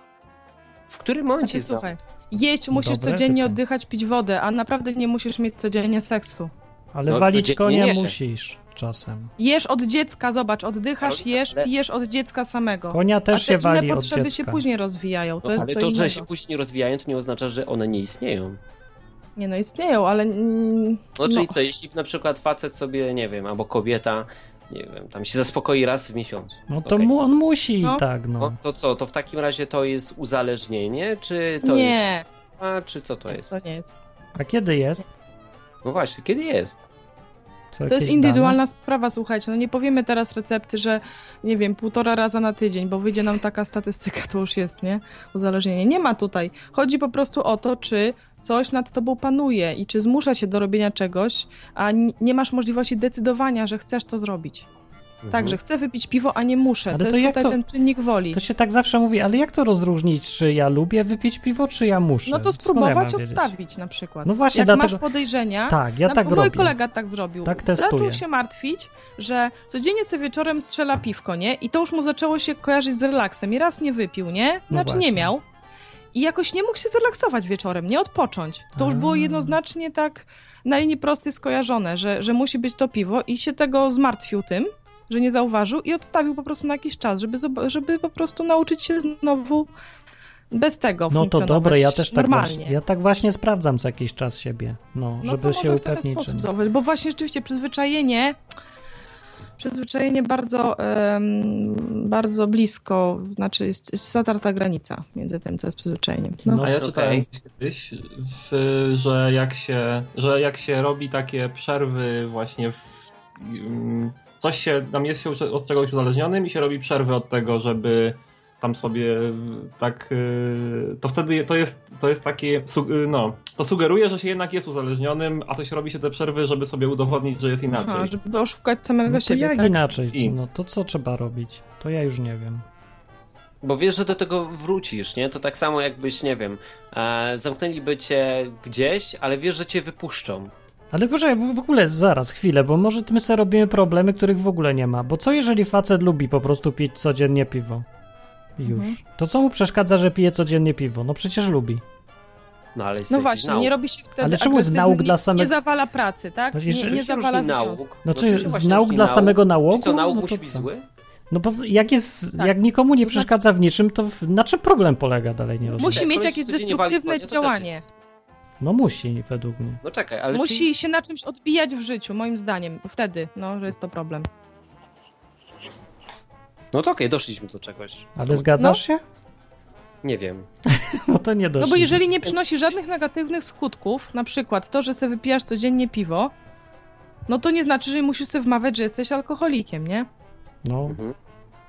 W którym momencie Znaczy, Tak jest no. nauk? słuchaj, jeść musisz Dobre codziennie pytanie. oddychać, pić wodę, a naprawdę nie musisz mieć codziennie seksu. Ale No, walić codziennie konia nie. musisz czasem. Jesz od dziecka, zobacz, oddychasz, Karolina, jesz, ale- pijesz od dziecka samego. Konia No. A też te się inne wali od potrzeby dziecka. się później rozwijają. To No, jest ale co to, innego. że się później rozwijają, to nie oznacza, że one nie istnieją. Nie no, istnieją, ale... mm, No, czyli no, co, jeśli na przykład facet sobie, nie wiem, albo kobieta, nie wiem, tam się zaspokoi raz w miesiącu. No to Okej. mu, on musi i No. tak, no. No, to co, to w takim razie to jest uzależnienie, czy to jest nie, Tak, A czy co to jest? to nie jest. A kiedy jest? No właśnie, kiedy jest? Co, To jakieś jest indywidualna sprawa, słuchajcie, no nie powiemy teraz recepty, że nie wiem, półtora raza na tydzień, bo wyjdzie nam taka statystyka, to już jest, nie? Uzależnienie. Nie ma tutaj. Chodzi po prostu o to, czy coś nad tobą panuje i czy zmusza się do robienia czegoś, a n- nie masz możliwości decydowania, że chcesz to zrobić. Tak, że chcę wypić piwo, a nie muszę. Mhm. Ale to to jest jak tutaj to- ten czynnik woli. To się tak zawsze mówi, ale jak to rozróżnić, czy ja lubię wypić piwo, czy ja muszę? No to Skąd ja mam spróbować wiedzieć? odstawić na przykład. No właśnie, Jak dlatego... masz podejrzenia, Tak, ja Na- tak mój robię. kolega tak zrobił. Tak testuję. Zaczął się martwić, że codziennie sobie wieczorem strzela piwko, nie? I to już mu zaczęło się kojarzyć z relaksem. I raz nie wypił, nie? No Znaczy właśnie. nie miał. I jakoś nie mógł się zrelaksować wieczorem, nie odpocząć. To już A. było jednoznacznie tak na linii prostej skojarzone, że, że musi być to piwo i się tego zmartwił tym, że nie zauważył i odstawił po prostu na jakiś czas, żeby, zob- żeby po prostu nauczyć się znowu bez tego No to funkcjonować dobre, ja też tak normalnie. właśnie, ja tak właśnie sprawdzam co jakiś czas siebie, no, No żeby to się może w ten upewnić. czy sposób nie. zauważyć, Bo właśnie rzeczywiście przyzwyczajenie, przyzwyczajenie bardzo, em, bardzo blisko, znaczy jest, jest zatarta granica między tym, co jest przyzwyczajeniem. No, No. A ja Okej. czytałem kiedyś, w, że, jak się, że jak się robi takie przerwy właśnie w, mm, coś się, tam jest się od czegoś uzależnionym i się robi przerwy od tego, żeby tam sobie tak, y, to wtedy to jest, to jest takie, su- y, no, to sugeruje, że się jednak jest uzależnionym, a coś robi się te przerwy, żeby sobie udowodnić, że jest inaczej. Aha, żeby oszukać samego No to siebie. jak tak? inaczej? I- No to co trzeba robić? To ja już nie wiem. Bo wiesz, że do tego wrócisz, nie? To tak samo jakbyś, nie wiem, e, zamknęliby cię gdzieś, ale wiesz, że cię wypuszczą. Ale proszę, w w ogóle zaraz, chwilę, bo może my sobie robimy problemy, których w ogóle nie ma. Bo co jeżeli facet lubi po prostu pić codziennie piwo? Już. Mhm. To co mu przeszkadza, że pije codziennie piwo? No przecież lubi. No ale jest No jakiś właśnie, nauk. nie robi się wtedy Ale czemu z agresywny, nauk dla nie- samego- Nie zawala pracy, tak? No i Nie, że- nie Oczywiście zawala różni nauk. związku. No Oczywiście czy z właśnie nauk różni dla samego nałogu? Czy co, nauk no, to musi być co? zły? No bo jak jest, Tak. jak nikomu nie To znaczy- przeszkadza w niczym, to w, na czym problem polega dalej nie rozumiem. Musi Jak mieć koleś jakieś codziennie wali destruktywne konia, to też działanie. jest- No musi, według mnie. No czekaj, ale Musi Ty... się na czymś odbijać w życiu, moim zdaniem. Wtedy, no, że jest to problem. No to okej, doszliśmy do czegoś. Ale zgadzasz się? Nie wiem. No to nie dość. No bo jeżeli nie przynosi żadnych negatywnych skutków, na przykład to, że se wypijasz codziennie piwo, no to nie znaczy, że musisz sobie wmawiać, że jesteś alkoholikiem, nie? No, Mhm.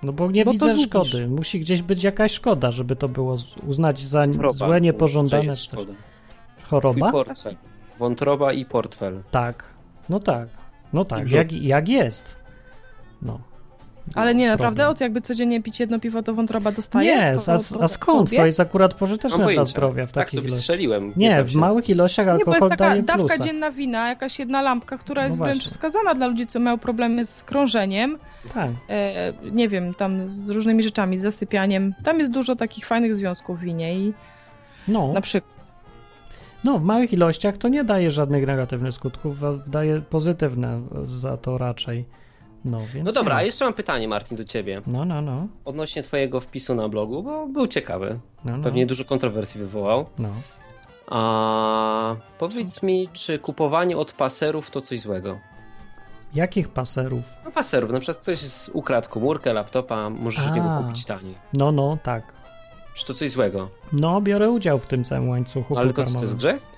no bo nie Bo to widzę lubisz. szkody. Musi gdzieś być jakaś szkoda, żeby to było z- uznać za n- Choroba, złe, że niepożądane jest coś. szkoda. choroba. Twój portfel. Wątroba i portfel. Tak, no tak, no tak, brzuch. jak, jak jest. No. Ale nie, No, naprawdę, problem. od jakby codziennie pić jedno piwo, to wątroba dostaje? Nie, Po- tak a, po- a skąd? po- po- To jest akurat Mam pożyteczne dla pojęcia. zdrowia w Tak takich sobie ilościach. strzeliłem. Nie, znam w się. małych ilościach Nie, bo alkohol jest taka daje dawka plusa. dzienna wina, jakaś jedna lampka, która No jest wręcz właśnie. wskazana dla ludzi, co mają problemy z krążeniem, Tak, e, nie wiem, tam z różnymi rzeczami, z zasypianiem. Tam jest dużo takich fajnych związków w winie i no, na przykład no, w małych ilościach to nie daje żadnych negatywnych skutków, a daje pozytywne za to raczej. No, więc No dobra, a nie. jeszcze mam pytanie, Martin, do ciebie. No, no, no. Odnośnie twojego wpisu na blogu, bo był ciekawy. no, no, Pewnie dużo kontrowersji wywołał. no. A powiedz mi, czy kupowanie od paserów to coś złego? Jakich paserów? No paserów, na przykład ktoś z- ukradł komórkę, laptopa, możesz od niego A. kupić taniej. No, no, tak. Czy to coś złego? No, biorę udział w tym całym łańcuchu Ale to, co, to pokarmowym. jest grzech?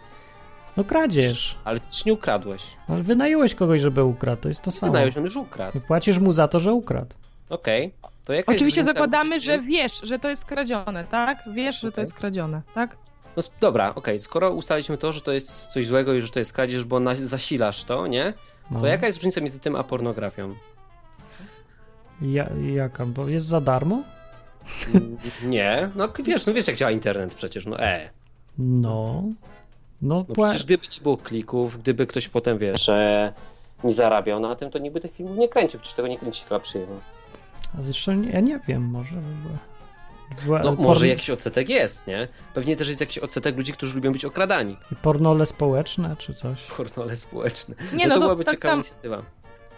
No kradzież. Ale ty nie ukradłeś. No Ale wynająłeś kogoś, żeby ukradł, to jest to samo. Wydaje się, on już ukradł. I Płacisz mu za to, że ukradł. Okej. To jaka jest Oczywiście różnica zakładamy, uczciwie? że wiesz, że to jest kradzione, tak? Wiesz, że to Okej. jest kradzione, tak? No, sp- dobra, okej, skoro ustaliśmy to, że to jest coś złego i że to jest kradzież, bo na... zasilasz to, nie? No. To jaka jest różnica między tym a pornografią? Ja, jaka? Bo jest za darmo? Mm, Nie, no k- wiesz, no wiesz jak działa internet przecież, no e. No. No, No pła- przecież gdyby nie było klików, gdyby ktoś potem, wiesz, e, nie zarabiał na tym, to niby tych filmów nie kręcił, przecież tego nie kręci dla przyjemności. A zresztą nie- ja nie wiem, może by była... była- No porn- może jakiś odsetek jest, nie? Pewnie też jest jakiś odsetek ludzi, którzy lubią być okradani. Pornole społeczne czy coś. Pornole społeczne. no, Nie, no, to to, byłaby tak ciekawa sam, inicjatywa.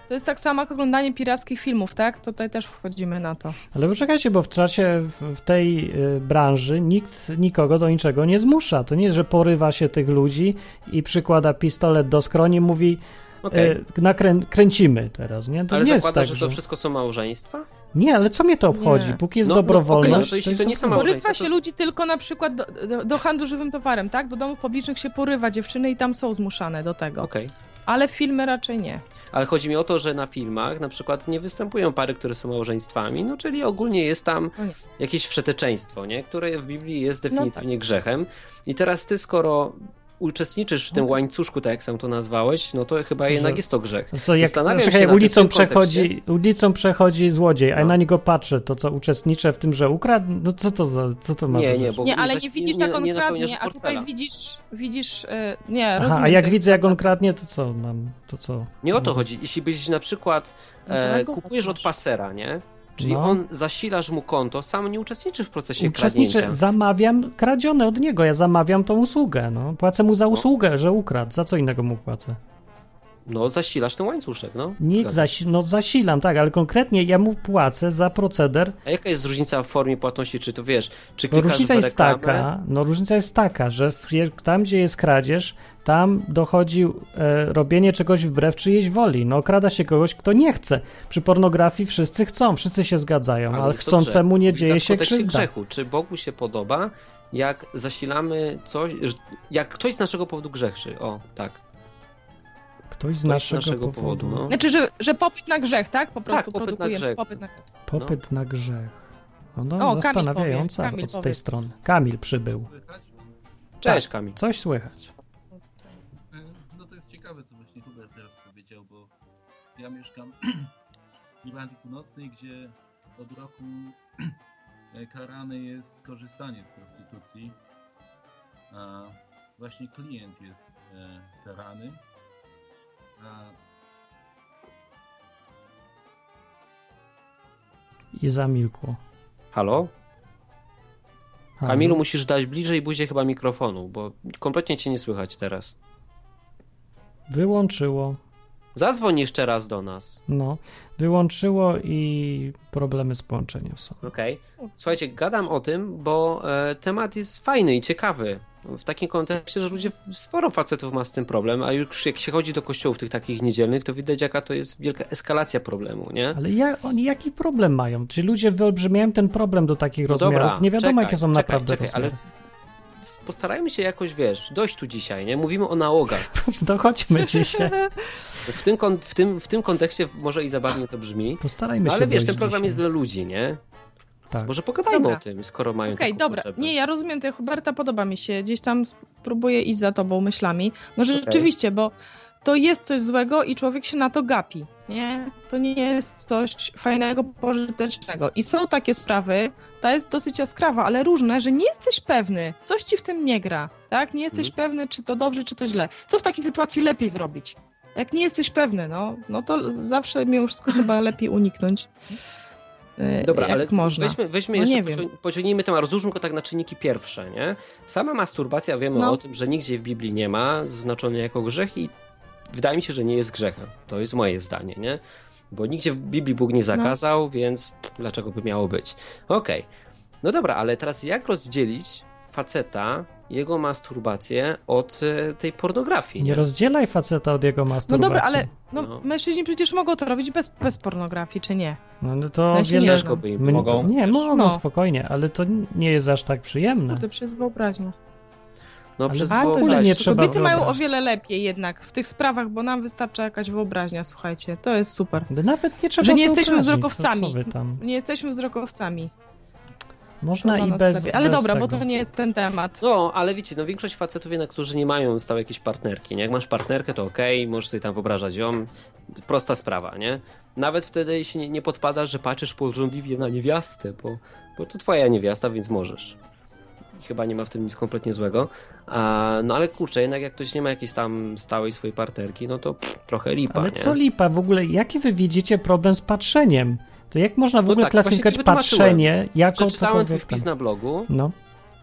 to jest tak samo jak oglądanie pirackich filmów, tak? Tutaj też wchodzimy na to. Ale poczekajcie, bo w czasie w, w tej y, branży nikt nikogo do niczego nie zmusza. To nie jest, że porywa się tych ludzi i przykłada pistolet do skroni i mówi Okej, y, nakrę- kręcimy teraz, nie? To ale nie jest zakładasz, tak, że to wszystko są małżeństwa? Nie, ale co mnie to obchodzi? Nie. Póki jest No, no, okej, no dobrowolność, to jeśli jest to nie są okej. małżeństwa, Porywa się to- ludzi tylko na przykład do, do, do handlu żywym towarem, tak? Do domów publicznych się porywa dziewczyny i tam są zmuszane do tego. Okej. Ale filmy raczej nie. Ale chodzi mi o to, że na filmach na przykład nie występują pary, które są małżeństwami, no czyli ogólnie jest tam No nie. jakieś przeteczeństwo, nie? które w Biblii jest No definitywnie grzechem. I teraz ty, skoro uczestniczysz w tym łańcuszku, tak jak sam to nazwałeś, no to chyba Co, jednak że- jest to grzech. Co, jak, Zastanawiam się czekaj, nad tym ulicą w tym przechodzi, ulicą przechodzi złodziej, a ja No. na niego patrzę, to co, uczestniczę w tym, że ukradł? No co to za, co to ma Nie, za nie, rzecz? bo Nie, ale zaś- nie widzisz, jak on napełniasz kradnie, a portfela. tutaj widzisz, widzisz, e, nie, Aha, rozumiem. a jak to widzę, jak on kradnie, to co mam, to co? Nie o to chodzi. Jeśli byś na przykład No, e, zalegować kupujesz od masz. pasera, nie? Czyli No. on zasilasz mu konto, sam nie uczestniczysz w procesie Uczestniczę, kradnięcia. zamawiam kradzione od niego, ja zamawiam tą usługę, no. Płacę mu za usługę, że ukradł, za co innego mu płacę? No, zasilasz ten łańcuszek, no. Nie, Zgadzam. zasi- no zasilam, tak, ale konkretnie ja mu płacę za proceder A jaka jest różnica w formie płatności? Czy to wiesz, czy No klikasz różnica w jest reklamę? taka, no różnica jest taka, że w, tam gdzie jest kradzież, tam dochodzi e, robienie czegoś wbrew czyjejś woli. No okrada się kogoś, kto nie chce. Przy pornografii wszyscy chcą, wszyscy się zgadzają, ale, jest to chcącemu grzech. nie Mówi dzieje teraz w się kontekście krzywda. grzechu. Czy Bogu się podoba, jak zasilamy coś, że- jak ktoś z naszego powodu grzeszy? O, tak. Ktoś z Ktoś naszego, powodu, no. Znaczy, że, że popyt na grzech, tak? Po prostu popyt na produkujemy grzech. popyt na grzech. popyt na grzech. No, Kamil zastanawiająca powie, Kamil od tej powiedz. strony. Kamil przybył. Cześć Kamil. Coś słychać. No to jest ciekawe, co właśnie Hubert teraz powiedział, bo ja mieszkam w Irlandii Północnej, gdzie od roku karane jest korzystanie z prostytucji, a właśnie klient jest e, karany, a I zamilkło. Halo? Halo? Kamilu musisz dać bliżej buzie chyba mikrofonu, bo kompletnie cię nie słychać teraz. Wyłączyło. Zadzwoń jeszcze raz do nas. No, wyłączyło i problemy z połączeniem są. Okej. Słuchajcie, gadam o tym, bo e, temat jest fajny i ciekawy. W takim kontekście, że ludzie, sporo facetów ma z tym problem, a już jak się chodzi do kościołów tych takich niedzielnych, to widać jaka to jest wielka eskalacja problemu, nie? Ale ja, oni jaki problem mają? Czy ludzie wyolbrzymiają ten problem do takich rozmiarów? nie wiadomo, No czekaj, jakie są czekaj, naprawdę czekaj, ale rozmiary. s- postarajmy się jakoś, wiesz, dojść tu dzisiaj, nie? Mówimy o nałogach. Dochodźmy dzisiaj. W tym, kon- w tym, w tym kontekście może i zabawnie to brzmi, no Postarajmy się ale wiesz, dojść ten program dzisiaj. jest dla ludzi, nie? Tak. Więc może pogadajmy Dobra. o tym, skoro mają Okej, taką dobra. potrzebę. Nie, ja rozumiem te Huberta, podoba mi się. Gdzieś tam spróbuję iść za tobą myślami. No rzeczywiście, bo to jest coś złego i człowiek się na to gapi. Nie, to nie jest coś fajnego, pożytecznego. I są takie sprawy, ta jest dosyć jaskrawa, ale różne, że nie jesteś pewny, coś ci w tym nie gra, tak? Nie jesteś Mhm. pewny, czy to dobrze, czy to źle. Co w takiej sytuacji lepiej zrobić? Jak nie jesteś pewny, no, no to zawsze mi już chyba lepiej uniknąć. e, Dobra, jak ale można. weźmy, weźmy No jeszcze, nie wiem. pocią- pociągnijmy temat, rozróżmy go tak na czynniki pierwsze, nie? Sama masturbacja, wiemy No. o tym, że nigdzie w Biblii nie ma, znaczony jako grzech i wydaje mi się, że nie jest grzechem. To jest moje zdanie, nie? Bo nigdzie w Biblii Bóg No. nie zakazał, więc pff, dlaczego by miało być? Okej. No dobra, ale teraz jak rozdzielić faceta, jego masturbację od e, tej pornografii? Nie rozdzielaj faceta od jego No masturbacji. dobra, ale no, No. mężczyźni przecież mogą to robić bez, bez pornografii, czy nie? No, no to Ja się nie wiele... Ciężko by im Mnie- pomogą. Nie, mogą No. spokojnie, ale to nie jest aż tak przyjemne. Kurde, przez wyobraźnię. No ale przez w ogóle wyobraźnię. nie To trzeba Kobiety mają o wyobrazić. wiele lepiej jednak w tych sprawach, bo nam wystarcza jakaś wyobraźnia, słuchajcie. To jest super. No Nawet nie trzeba Że nie jesteśmy wyobrazić, No, wzrokowcami. Co, co wy tam? Nie jesteśmy wzrokowcami. Można Dla i nas bez lepiej. Ale bez dobra, tego. bo to nie jest ten temat. No, ale wiecie, no większość facetów jednak, którzy nie mają stałej jakiejś partnerki, nie? Jak masz partnerkę, to okej, możesz sobie tam wyobrażać ją. Prosta sprawa, nie? Nawet wtedy się nie, nie podpada, że patrzysz pożądliwie na niewiastę, bo, bo to twoja niewiasta, więc możesz. Chyba nie ma w tym nic kompletnie złego. A, no ale kurczę, jednak jak ktoś nie ma jakiejś tam stałej swojej partnerki, no to pff, trochę lipa, Ale nie? co lipa, w ogóle jaki wy widzicie problem z patrzeniem? To jak można w No ogóle tak, klasyfikować właśnie ci wytłumaczyłem. patrzenie jako Przeczytałem twój cokolwiek wpis tam? na blogu. No,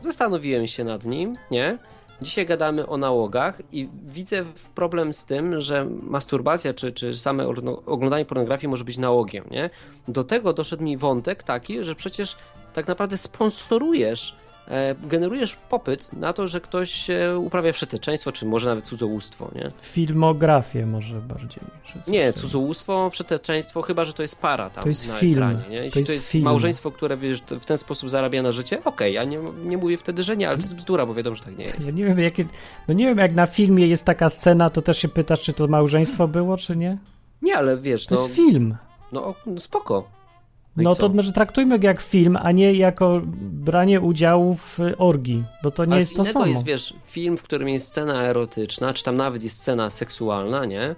Zastanowiłem się nad nim, nie? Dzisiaj gadamy o nałogach i widzę w- problem z tym, że masturbacja czy, czy same orno- oglądanie pornografii może być nałogiem, nie? Do tego doszedł mi wątek taki, że przecież tak naprawdę sponsorujesz, e, generujesz popyt na to, że ktoś e, uprawia wszeteczeństwo, czy może nawet cudzołóstwo, nie? filmografię może bardziej. czy coś Nie, tam. cudzołóstwo, wszeteczeństwo, chyba że to jest para tam To jest na film. ekranie, nie? Jeśli to To jest, jest film. małżeństwo, które wiesz, to w ten sposób zarabia na życie, okej, ja nie, nie mówię wtedy, że nie, ale to jest bzdura, bo wiadomo, że tak nie jest. Ja nie wiem, jakie, no nie wiem, jak na filmie jest taka scena, to też się pytasz, czy to małżeństwo było, czy nie? Nie, ale wiesz, To no, jest film. no o- no spoko. i No co? to może traktujmy go jak film, a nie jako branie udziału w orgii, bo to nie ale jest co to innego samo. jest, wiesz, film, w którym jest scena erotyczna, czy tam nawet jest scena seksualna, nie?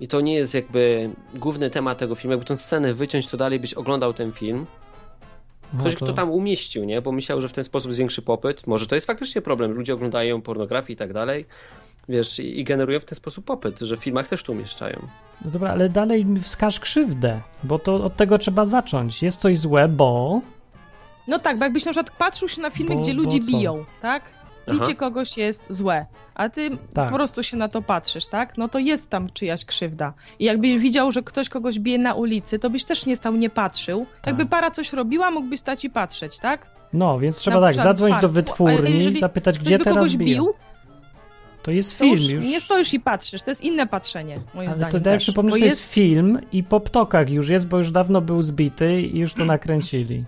I to nie jest jakby główny temat tego filmu. Jakby tą scenę wyciąć, to dalej byś oglądał ten film. No Ktoś, to- kto tam umieścił, nie? Bo myślał, że w ten sposób zwiększy popyt. Może to jest faktycznie problem. Ludzie oglądają pornografię i tak dalej. Wiesz, i, i generują w ten sposób popyt, że w filmach też to umieszczają. No dobra, ale dalej wskaż krzywdę, bo to od tego trzeba zacząć. Jest coś złe, bo... No tak, bo jakbyś na przykład patrzył się na filmy, Bo- gdzie bo ludzie co? biją, tak? Aha. Bicie kogoś jest złe, a ty Tak. po prostu się na to patrzysz, tak? No to jest tam czyjaś krzywda. I jakbyś widział, że ktoś kogoś bije na ulicy, to byś też nie stał, nie patrzył. Tak. Jakby para coś robiła, mógłbyś stać i patrzeć, tak? No, więc trzeba Na tak, przykład zadzwonić do parku, ale wytwórni i jeżeli zapytać, Ktoś gdzie by teraz kogoś biją. bił, To jest to film już, już. nie stoisz i patrzysz. To jest inne patrzenie, moim ale zdaniem. to daj też. przypomnieć, Bo że to jest film i po ptokach już jest, bo już dawno był zbity i już Mm. to nakręcili.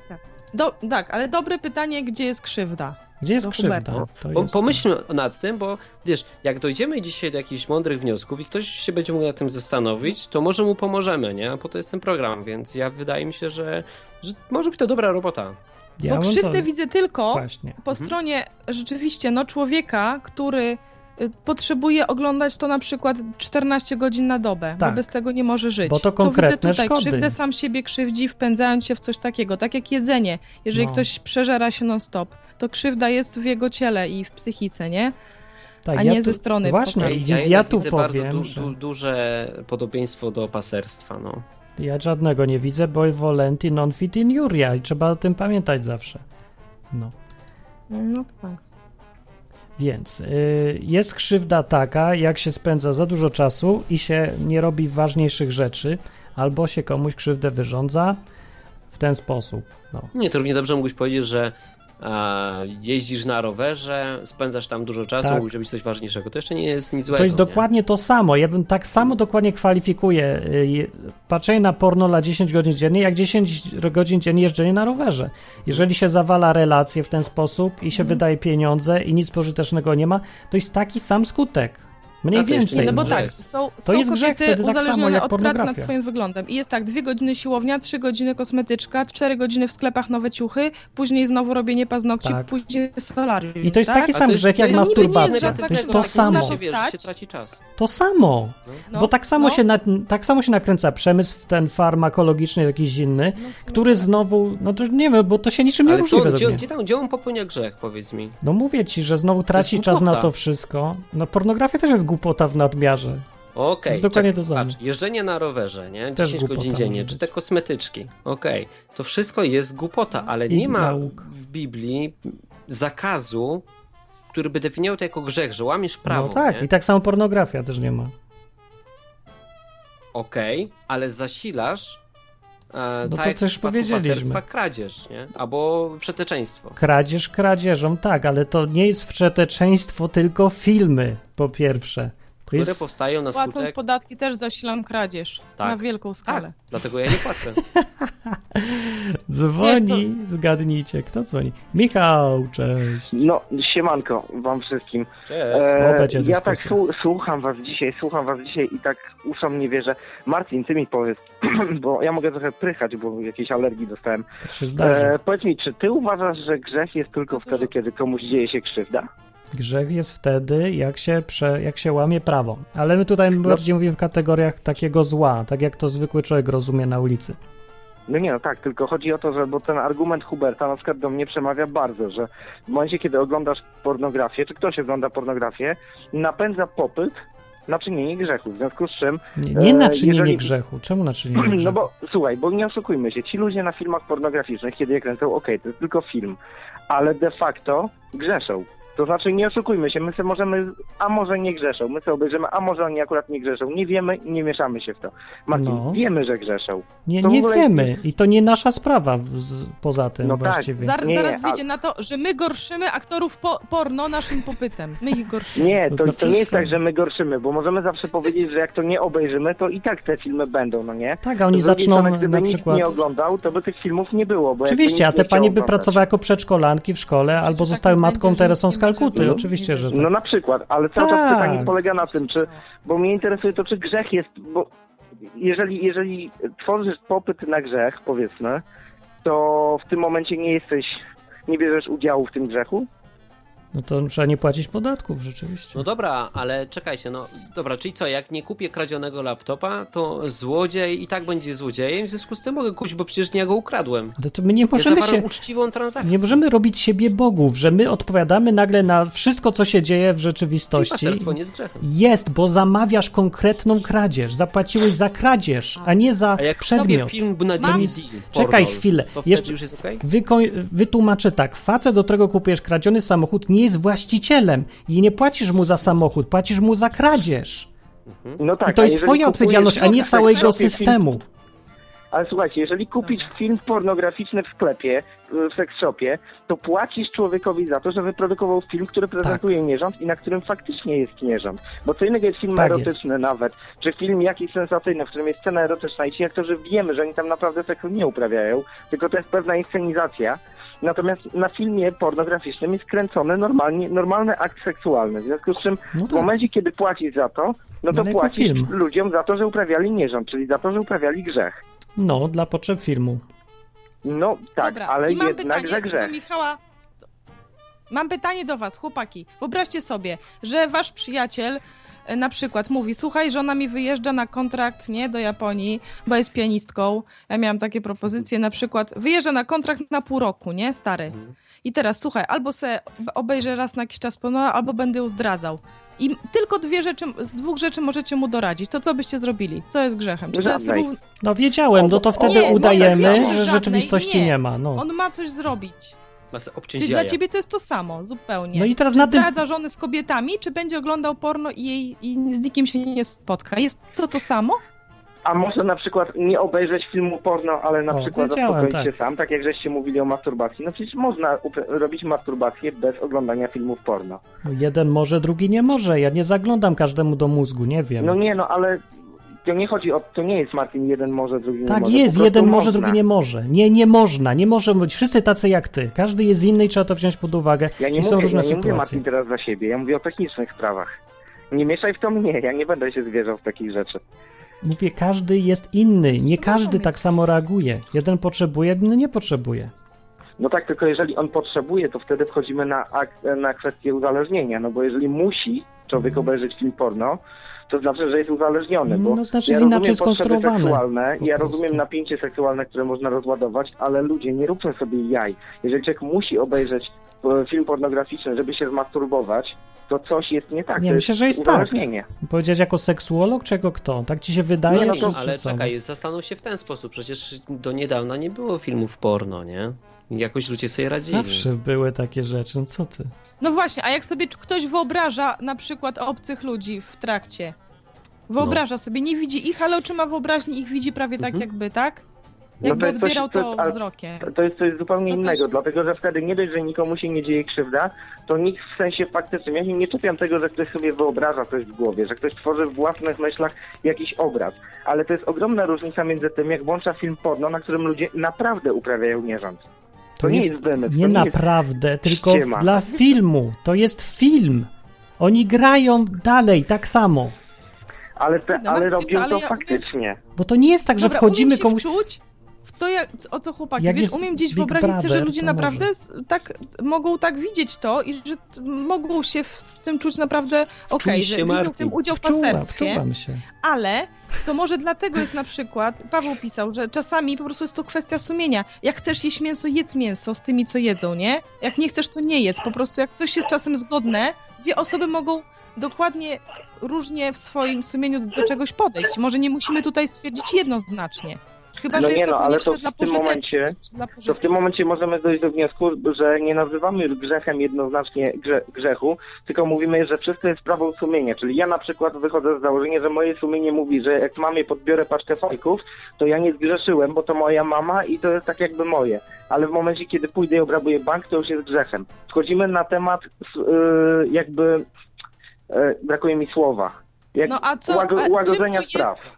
Do, tak, ale dobre pytanie, gdzie jest krzywda? Gdzie jest Do krzywda? Huberta. To Po, jest... pomyślmy nad tym, bo wiesz, jak dojdziemy dzisiaj do jakichś mądrych wniosków i ktoś się będzie mógł nad tym zastanowić, to może mu pomożemy, nie? Bo to jest ten program, więc ja wydaje mi się, że, że może być to dobra robota. Ja Bo bym to- krzywdę widzę tylko Właśnie. po stronie rzeczywiście no, człowieka, który y, potrzebuje oglądać to na przykład 14 godzin na dobę, Tak. bo bez tego nie może żyć. Bo to konkretne widzę tutaj, szkody. krzywdę sam siebie krzywdzi, wpędzając się w coś takiego, tak jak jedzenie. Jeżeli No. ktoś przeżera się non-stop, to krzywda jest w jego ciele i w psychice, nie? Tak, A ja nie tu- ze strony. właśnie, po i- tej. Tak, Więc ja jednak tu widzę powiem, bardzo du- że- du- duże podobieństwo do paserstwa, no. Ja żadnego nie widzę, bo volenti non fit in juria i trzeba o tym pamiętać zawsze. No. No tak. Więc y, jest krzywda taka, jak się spędza za dużo czasu i się nie robi ważniejszych rzeczy, albo się komuś krzywdę wyrządza w ten sposób. No. Nie, to równie dobrze mógłbyś powiedzieć, że a, jeździsz na rowerze, spędzasz tam dużo czasu, Tak. tak. robić coś ważniejszego. To jeszcze nie jest nic złego. To jest nie? dokładnie to samo. Ja bym tak samo dokładnie kwalifikuję y, je- patrzenie na porno na 10 godzin dziennie, jak 10 godzin dziennie jeżdżenie na rowerze. Jeżeli się zawala relacje w ten sposób i się Mhm. wydaje pieniądze i nic pożytecznego nie ma, to jest taki sam skutek. Mniej Tak, to jeszcze więcej. No jest bo grzech. tak, są, To są jest grzech kobiety wtedy tak samo uzależnione jak od pracy nad pornografia. swoim wyglądem. I jest tak, dwie godziny siłownia, trzy godziny kosmetyczka, cztery godziny w sklepach nowe ciuchy, później znowu robienie paznokci, Tak. później solarium. I to jest tak? taki A sam to jest- grzech to jak jest niby nic masturbacja. To negatywnego, jest to tak, samo. zawsze- Wiesz, że No, się Stać. traci czas. To samo. No, Bo tak samo, no. się na, tak samo się nakręca przemysł, ten farmakologiczny, jakiś inny, no, który znowu, no to nie wiem, bo to się niczym nie Ale różni co, według gdzie, mnie. gdzie, tam, gdzie on popełnia grzech, powiedz mi? No mówię ci, że znowu traci jest czas na głupota. to wszystko. No pornografia też jest głupota w nadmiarze. Okej. To jest dokładnie czekaj, to samo. Patrz, jeżdżenie na rowerze, nie? Też 10 godzin głupota dziennie, może czy być. te kosmetyczki. Okej. To wszystko jest głupota, ale I nie ma nauk. w Biblii zakazu, który by definiował to jako grzech, że łamiesz prawo. no tak, nie? i tak samo pornografia też nie ma. okej, ale zasilasz e, No tak to jak też w przypadku powiedzieliśmy. paserstwa kradzież, nie? Albo przeteczeństwo. Kradzież kradzieżą, tak, ale to nie jest wszeteczeństwo, tylko filmy, po pierwsze. To Które jest... powstają na Płacąc skutek... podatki też zasilam kradzież Tak. na wielką Tak, skalę. dlatego ja nie płacę. Dzwoni, zgadnijcie, kto dzwoni? Michał, cześć. No, siemanko wam wszystkim. Cześć. E, Obecie ja tak dyskusja. słu- słucham was dzisiaj, słucham was dzisiaj i tak uszom nie wierzę. Marcin, ty mi powiedz, bo ja mogę trochę prychać, bo jakiejś alergii dostałem. To się zdarzy. E, powiedz mi, czy ty uważasz, że grzech jest tylko wtedy, kiedy komuś dzieje się krzywda? Grzech jest wtedy, jak się, prze, jak się łamie prawo. Ale my tutaj No. bardziej mówimy w kategoriach takiego zła, tak jak to zwykły człowiek rozumie na ulicy. No nie, no tak, tylko chodzi o to, że bo ten argument Huberta na przykład do mnie przemawia bardzo, że w momencie, kiedy oglądasz pornografię, czy ktoś ogląda pornografię, napędza popyt na czynienie grzechu, w związku z czym Nie, nie E, na czynienie jeżeli- grzechu. Czemu na czynienie grzechu? No bo słuchaj, bo nie oszukujmy się, ci ludzie na filmach pornograficznych, kiedy je kręcą, okej, to jest tylko film, ale de facto grzeszą. To znaczy nie oszukujmy się, my sobie możemy, a może nie grzeszą, my sobie obejrzymy, a może oni akurat nie grzeszą, nie wiemy i nie mieszamy się w to. Marcin, No. wiemy, że grzeszą. Nie, To w nie ogóle- wiemy i to nie nasza sprawa w, z, poza tym No tak, właściwie. Zar- Nie, nie, zaraz a- wyjdzie na to, że my gorszymy aktorów po porno naszym popytem. My ich gorszymy. Nie, To znaczy, to, na to nie jest wszystko. tak, że my gorszymy, bo możemy zawsze powiedzieć, że jak to nie obejrzymy, to i tak te filmy będą, no nie? Tak, a oni Z drugiej zaczną strony, gdyby na nikt przykład... nie oglądał, to by tych filmów nie było. Bo jakby Oczywiście, nikt a te nie pani chciał by oglądać. pracowały jako przedszkolanki w szkole albo tak zostały nie matką będzie, że Teresą z nikt nie będzie Kalkuty. No. Oczywiście, że No tak. na przykład, ale cały czas Tak. pytanie polega na tym, No. czy, bo mnie interesuje to, czy grzech jest, bo jeżeli, jeżeli tworzysz popyt na grzech, powiedzmy, to w tym momencie nie jesteś, nie bierzesz udziału w tym grzechu? No to trzeba nie płacić podatków rzeczywiście. No dobra, ale czekajcie, no dobra, czyli co, jak nie kupię kradzionego laptopa, to złodziej i tak będzie złodziejem, w związku z tym mogę kupić, bo przecież nie ja go ukradłem. Ale to my nie Ja możemy zawarłem się... uczciwą transakcję. Nie możemy robić siebie bogów, że my odpowiadamy nagle na wszystko, co się dzieje w Czyli rzeczywistości. paserstwo nie jest grzechem. Jest, bo zamawiasz konkretną kradzież. Zapłaciłeś za kradzież, a nie za A jak przedmiot. robię film na Mam- DVD, Czekaj porno, chwilę, To wtedy jeszcze- już jest okej? Wyko- wytłumaczę tak. Facet, do którego kupujesz kradziony samochód, nie jest właścicielem i nie płacisz mu za samochód, płacisz mu za kradzież. No tak. Hmm? I to a jest jeżeli twoja kupujesz- odpowiedzialność, a nie tak, całego kupisz film- systemu. Ale słuchajcie, jeżeli kupisz film pornograficzny w sklepie, w sex shopie, to płacisz człowiekowi za to, że wyprodukował film, Tak. który prezentuje nierząd i na którym faktycznie jest nierząd. Bo co innego jest film Tak erotyczny nawet, czy film jakiś sensacyjny, w którym jest scena erotyczna i ci aktorzy wiemy, że oni tam naprawdę seksu nie uprawiają, tylko to jest pewna inscenizacja. Natomiast na filmie pornograficznym jest kręcony normalnie, normalny akt seksualny. W związku z czym No w tak. momencie, kiedy płacisz za to, no No to ale jako płacisz film. ludziom za to, że uprawiali nierząd, czyli za to, że uprawiali grzech. No, dla potrzeb filmu. No tak, Dobra, ale i mam jednak za pytanie do grzech. Michała. Mam pytanie do was, chłopaki. Wyobraźcie sobie, że wasz przyjaciel e, na przykład mówi, słuchaj, żona mi wyjeżdża na kontrakt, nie, do Japonii, bo jest pianistką. Ja miałam takie propozycje, na przykład wyjeżdża na kontrakt na pół roku, nie, stary. I teraz, słuchaj, albo se obejrzę raz na jakiś czas ponownie, albo będę ją zdradzał. I tylko dwie rzeczy, z dwóch rzeczy możecie mu doradzić. To co byście zrobili? Co jest grzechem? Czy to jest Żadnej. równ- No wiedziałem, no to wtedy nie, udajemy, nie, że żadnej rzeczywistości nie, ma. No. On ma coś zrobić. Was obciąć Czyli dla jaja. ciebie to jest to samo, zupełnie. No i teraz czy na tym- zdradza żony z kobietami, czy będzie oglądał porno i, jej, i z nikim się nie spotka? Jest to to samo? A może na przykład nie obejrzeć filmu porno, ale na O, przykład wiedziałem, zaspokoić tak. się sam, tak jak żeście mówili o masturbacji. No przecież można upra- robić masturbację bez oglądania filmów porno. No Jeden może, drugi nie może. Ja nie zaglądam każdemu do mózgu, nie wiem. No nie, no ale to nie chodzi o... To nie jest Martin, jeden może, drugi nie tak może. jest, Po prostu jeden może, można. drugi nie może. Nie, nie można, nie może być. Wszyscy tacy jak ty. Każdy jest inny i trzeba to wziąć pod uwagę. Ja nie, I są mówię, różne ja nie mówię sytuacje. Martin teraz za siebie, ja mówię o technicznych sprawach. Nie mieszaj w to mnie, ja nie będę się zwierzał w takich rzeczy. Mówię, każdy jest inny. Nie każdy tak samo reaguje. Jeden potrzebuje, jeden nie potrzebuje. No tak, tylko jeżeli on potrzebuje, to wtedy wchodzimy na, ak- na kwestię uzależnienia, no bo jeżeli musi człowiek obejrzeć film porno, to znaczy, że jest uzależniony, bo Mhm. No, znaczy ja jest rozumiem inaczej potrzeby skonstruowane, seksualne, po ja prostu. rozumiem napięcie seksualne, które można rozładować, ale ludzie, nie róbmy sobie jaj. Jeżeli człowiek musi obejrzeć e, film pornograficzny, żeby się zmasturbować, to coś jest nie tak. Nie, to myślę, że jest tak. uzależnienie. Powiedziałeś jako seksuolog, czego kto? Tak ci się No, wydaje? No Nie, czy- czy ale co? czekaj, zastanów się w ten sposób. Przecież do niedawna nie było filmów porno, nie? Jakoś ludzie sobie radzili. Zawsze były takie rzeczy, no co ty? No właśnie, a jak sobie c- ktoś wyobraża na przykład obcych ludzi w trakcie, wyobraża No. sobie, nie widzi ich, ale oczyma wyobraźni ich widzi prawie tak jakby, tak? Mhm. No Jakby to jest coś- odbierał to to, jest- ale- wzrokiem. No To jest coś zupełnie innego, dlatego że wtedy nie dość, że nikomu się nie dzieje krzywda, to nikt w sensie faktycznym, ja się nie czepiam tego, że ktoś sobie wyobraża coś w głowie, że ktoś tworzy w własnych myślach jakiś obraz, ale to jest ogromna różnica między tym, jak włącza film porno, na którym ludzie naprawdę uprawiają nierząd. To, nie jest wymysł. Nie to naprawdę, tylko w- ściema. dla filmu. To jest film. Oni grają dalej tak samo. Jest, ale te, No, ale robią ale to ja umiem- faktycznie. Bo to nie jest tak, że Dobra, wchodzimy umiem się komuś. Wczuć w to, jak, o co chłopaki, Jak wiesz, jest umiem gdzieś Big wyobrazić sobie, że Brother, ludzie to naprawdę może. s- tak mogą tak widzieć to i że t- mogą się w, z tym czuć naprawdę okej, Czuj że się, widzą w tym udział w Wczułam, paserstwie. wczułam się. Ale to może dlatego jest na przykład, Paweł pisał, że czasami po prostu jest to kwestia sumienia. Jak chcesz jeść mięso, jedz mięso z tymi, co jedzą, nie? Jak nie chcesz, to nie jedz. Po prostu jak coś jest czasem zgodne, dwie osoby mogą dokładnie różnie w swoim sumieniu do czegoś podejść. Może nie musimy tutaj stwierdzić jednoznacznie. Chyba, no że nie jest no, to ale konieczne to dla w tym pożyteczności. momencie, dla to w tym momencie możemy dojść do wniosku, że nie nazywamy grzechem jednoznacznie grze, grzechu, tylko mówimy, że wszystko jest sprawą sumienia. Czyli ja na przykład wychodzę z założenia, że moje sumienie mówi, że jak mamie podbiorę paczkę fajków, to ja nie zgrzeszyłem, bo to moja mama i to jest tak jakby moje. Ale w momencie, kiedy pójdę i obrabuję bank, to już jest grzechem. Wchodzimy na temat s- yy, jakby yy, brakuje mi słowa. Jak No a co- łago- a czym łagodzenia to jest- spraw.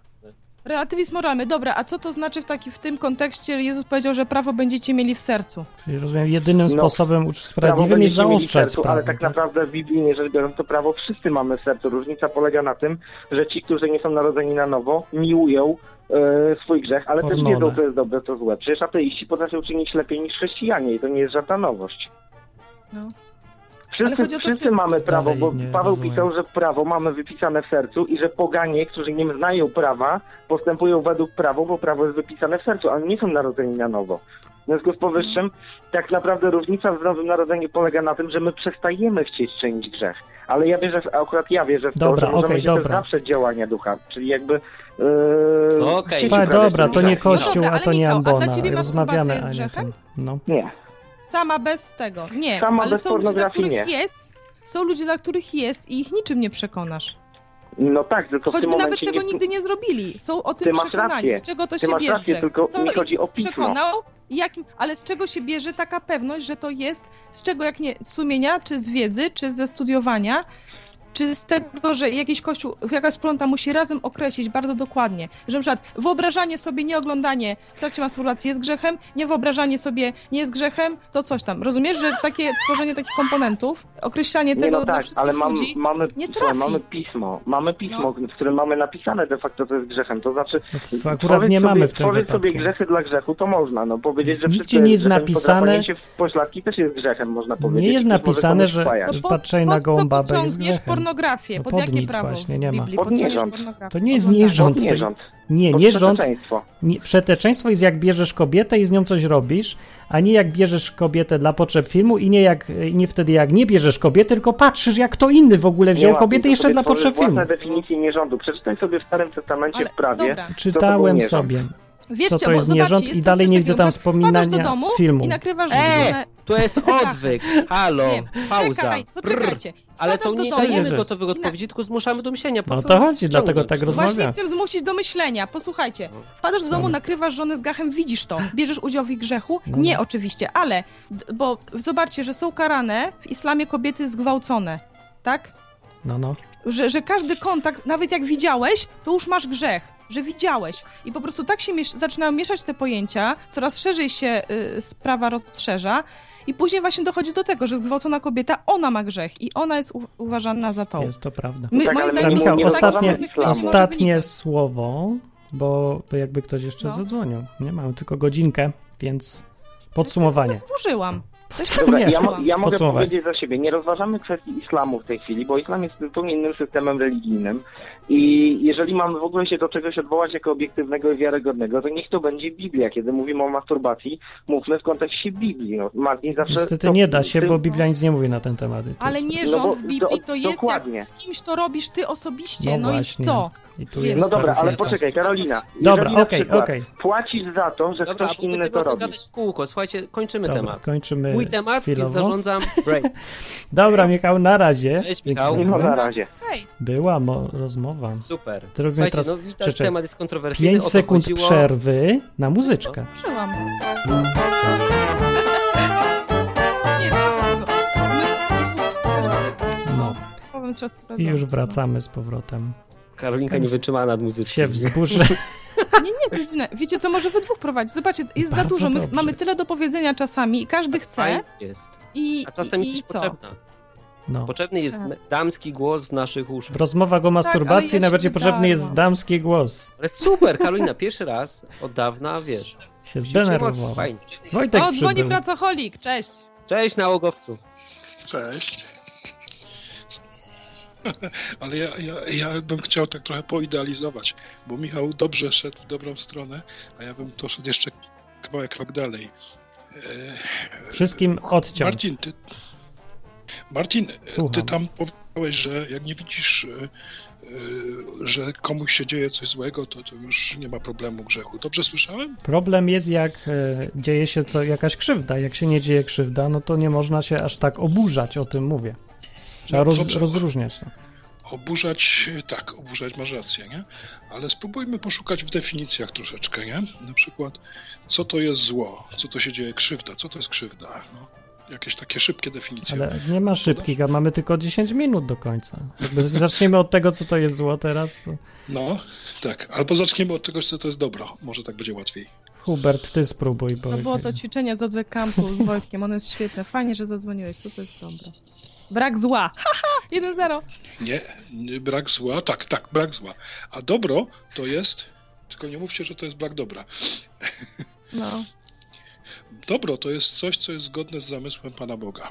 Relatywizm moralny. Dobra, a co to znaczy w, taki, w tym kontekście? Jezus powiedział, że prawo będziecie mieli w sercu. Czyli rozumiem, jedynym No, sposobem Prawo usprawiedliwym jest będziecie mieli w zaostrzać sercu, Ale sprawę. tak naprawdę biblijnie rzecz biorąc, to prawo wszyscy mamy w sercu. Różnica polega na tym, że ci, którzy nie są narodzeni na nowo, miłują e, swój grzech, ale też Hormony. wiedzą, co jest dobre, co złe. Przecież ateiści potrafią czynić lepiej niż chrześcijanie i to nie jest żadna nowość. No. Wszyscy, chodzi o to, wszyscy czy- mamy prawo, Dalej bo nie Paweł rozumiem. pisał, że prawo mamy wypisane w sercu i że poganie, którzy nie znają prawa, postępują według prawa, bo prawo jest wypisane w sercu, ale nie są narodzeni na nowo. W związku z powyższym, tak naprawdę różnica w nowym narodzeniu polega na tym, że my przestajemy chcieć czynić grzech. Ale ja wierzę, w- akurat ja wierzę w to, Dobra, że możemy okej, się dobra. też zawsze działania ducha, czyli jakby... Yy, Okej. chcieć Fa, uprawiać dobra, ten to nie grzech. kościół, No dobra, a ale to nie Michał, a dla ambona. ciebie masturbacja Rozmawiamy, jest a nie grzechem? ten. No. Nie. Sama bez tego. Nie, Sama ale bez są ludzie, dla pornografii których nie. jest. Są ludzie, dla których jest i ich niczym nie przekonasz. No tak, tylko w Choćby tym nawet momencie tego nie... nigdy nie zrobili. Są o Ty tym masz przekonani. rację. Z czego to Ty się masz bierze? rację, tylko to mi chodzi o ich pismo. No przekonał, jakim, ale z czego się bierze taka pewność, że to jest z czego jak nie z sumienia, czy z wiedzy, czy ze studiowania, czy z tego, że jakiś kościół, jakaś wspólnota musi razem określić bardzo dokładnie, że na przykład wyobrażanie sobie, nieoglądanie w trakcie masturbacji jest grzechem, niewyobrażanie sobie nie jest grzechem, to coś tam. Rozumiesz, że takie tworzenie takich komponentów, określanie Nie tego no dla tak, wszystkich ale mam, ludzi, mamy, nie słuchaj, trafi. No. mamy pismo, mamy pismo, w którym mamy napisane de facto, co jest grzechem. To znaczy, akurat tworzyć nie sobie, mamy w tym tworzyć sobie wypadku. grzechy dla grzechu, to można, no powiedzieć, że Nigdzie wszystko jest nie jest grzechem, napisane- podrapanie się w pośladki też jest grzechem, można powiedzieć. Nie jest Ktoś może napisane, komuś No, że wpajać. patrzenie na gołą babę jest podciągniesz grzechem. pornografię? No Pod jakie podnic prawo właśnie, z nie ma. Biblii Pod podciągniesz nierząd. pornografię? To nie jest nierząd. Pod nierząd. Nie, Pod nierząd. wszeteczeństwo. Nie, wszeteczeństwo jest jak bierzesz kobietę i z nią coś robisz, a nie jak bierzesz kobietę dla potrzeb filmu i nie, jak, nie wtedy jak nie bierzesz kobiety, tylko patrzysz jak to inny w ogóle Nie wziął ma, kobietę to jeszcze sobie dla tworzysz potrzeb filmu. Własne definicje nierządu. Przeczytaj sobie w Starym Testamencie w prawie. dobra. Czytałem co to był nierząd. sobie, Wiecie, co to bo jest zobaczcie, nierząd jest i tam dalej coś nie widzę takiego, tam że wpadasz do wspominania domu filmu. i nakrywasz żonę. E, to jest odwyk. Halo, Nie, pauza. Czekaj, poczekajcie. Ale to Wpadasz do nie domu- dajemy Rzecz. gotowych odpowiedzi, tylko zmuszamy do myślenia. Po No co to chodzi, dlatego ciągnąć? tak Właśnie rozmawiam. chcę zmusić do myślenia. Posłuchajcie. Wpadasz do domu, Dobra. nakrywasz żonę z gachem, widzisz to. Bierzesz udział w ich grzechu? No. Nie, oczywiście, ale d- bo zobaczcie, że są karane w islamie kobiety zgwałcone. Tak? No, no. Że, że każdy kontakt, nawet jak widziałeś, to już masz grzech. Że widziałeś. I po prostu tak się miesz- zaczynają mieszać te pojęcia, coraz szerzej się y, sprawa rozszerza. I później właśnie dochodzi do tego, że zgwałcona kobieta, ona ma grzech i ona jest u- uważana za to. Jest to prawda. My- Tak, moim ale zdaniem Michał, nie ostatnie, rozważamy islamu. ostatnie słowo, bo to jakby ktoś jeszcze No. zadzwonił. Nie mamy tylko godzinkę, więc podsumowanie. Służyłam. Dobra, tak Nie, ja, mo- ja mogę podsumowanie. powiedzieć za siebie. Nie rozważamy kwestii islamu w tej chwili, bo islam jest zupełnie innym systemem religijnym. I jeżeli mamy w ogóle się do czegoś odwołać jako obiektywnego i wiarygodnego, to niech to będzie Biblia. Kiedy mówimy o masturbacji, mówmy w kontekście Biblii. No, Martin zawsze Niestety to- nie da się, tym- bo Biblia nic nie mówi na ten temat. I to Ale jest- nie No bo rząd w Biblii, do- to jest dokładnie. jak z kimś to robisz ty osobiście, No no, i właśnie. co? I tu jest Więc- No dobra, ta ale różnica. poczekaj, Karolina. Dobra, jeżeli na okej, przykład okej. Płacisz za to, że Dobra, ktoś bo będziemy inny o to tym robi. gadać w kółko. Słuchajcie, kończymy Dobra, temat. kończymy Mój temat, chwilowo. więc zarządzam break. Dobra, Michał, na razie. Cześć, Michał. Dzięki. No na razie. Hej, Była mo- rozmowa. Super. Zrobimy Słuchajcie, teraz no widać, krzyczę. temat jest kontrowersyjny. 5 o to sekund chodziło. przerwy na muzyczkę. żyłam. Nie, No. powiem teraz I już wracamy z powrotem. Karolinka nie wytrzymała nad muzycznie. Się wzburzę. Nie, nie, to jest dziwne. Wiecie co, może wy dwóch prowadzić. Zobaczcie, jest za Bardzo dużo. My dobrze mamy jest. tyle do powiedzenia czasami i każdy chce. Tak, Fajnie jest. I, A czasem i, i jesteś co? Tak. potrzebna. No. Potrzebny jest damski głos w naszych uszach. W rozmowach o ale ja masturbacji się najbardziej nie potrzebny jest no. dałam. damski głos. Ale super, Karolina, pierwszy raz od dawna, wiesz. Się wzięcie mocy, zdenerwował. Fajnie. Wojtek o, dzwoni przybył. pracocholik, cześć. Cześć nałogowcu. Cześć. Ale ja, ja, ja bym chciał tak trochę poidealizować, bo Michał dobrze szedł w dobrą stronę, a ja bym to szedł jeszcze kawałek krok dalej. E, Wszystkim odciąć. Marcin, ty, Marcin, e, ty Słucham. tam powiedziałeś, że jak nie widzisz, e, e, że komuś się dzieje coś złego, to, to już nie ma problemu grzechu. Dobrze słyszałem? Problem jest, jak e, dzieje się co, jakaś krzywda. Jak się nie dzieje krzywda, no to nie można się aż tak oburzać, o tym mówię. Trzeba No roz, dobrze. rozróżniać to. Oburzać, tak, oburzać masz rację, nie? Ale spróbujmy poszukać w definicjach troszeczkę, nie? Na przykład, co to jest zło, co to się dzieje, E, krzywda, co to jest krzywda, no. Jakieś takie szybkie definicje. Ale nie ma szybkich, a mamy tylko 10 minut do końca. Jakby zaczniemy od tego, co to jest zło teraz, to No, tak. Albo zaczniemy od czegoś, co to jest dobro. Może tak będzie łatwiej. Hubert, ty spróbuj, bo... To było No to ćwiczenie z odwyk kampu z Wojtkiem, ono jest świetne. Fajnie, że zadzwoniłeś, super jest dobre. Brak zła. Haha, 1-0. Nie, nie, brak zła, tak, tak, brak zła. A dobro to jest, tylko nie mówcie, że to jest brak dobra. No. Dobro to jest coś, co jest zgodne z zamysłem Pana Boga.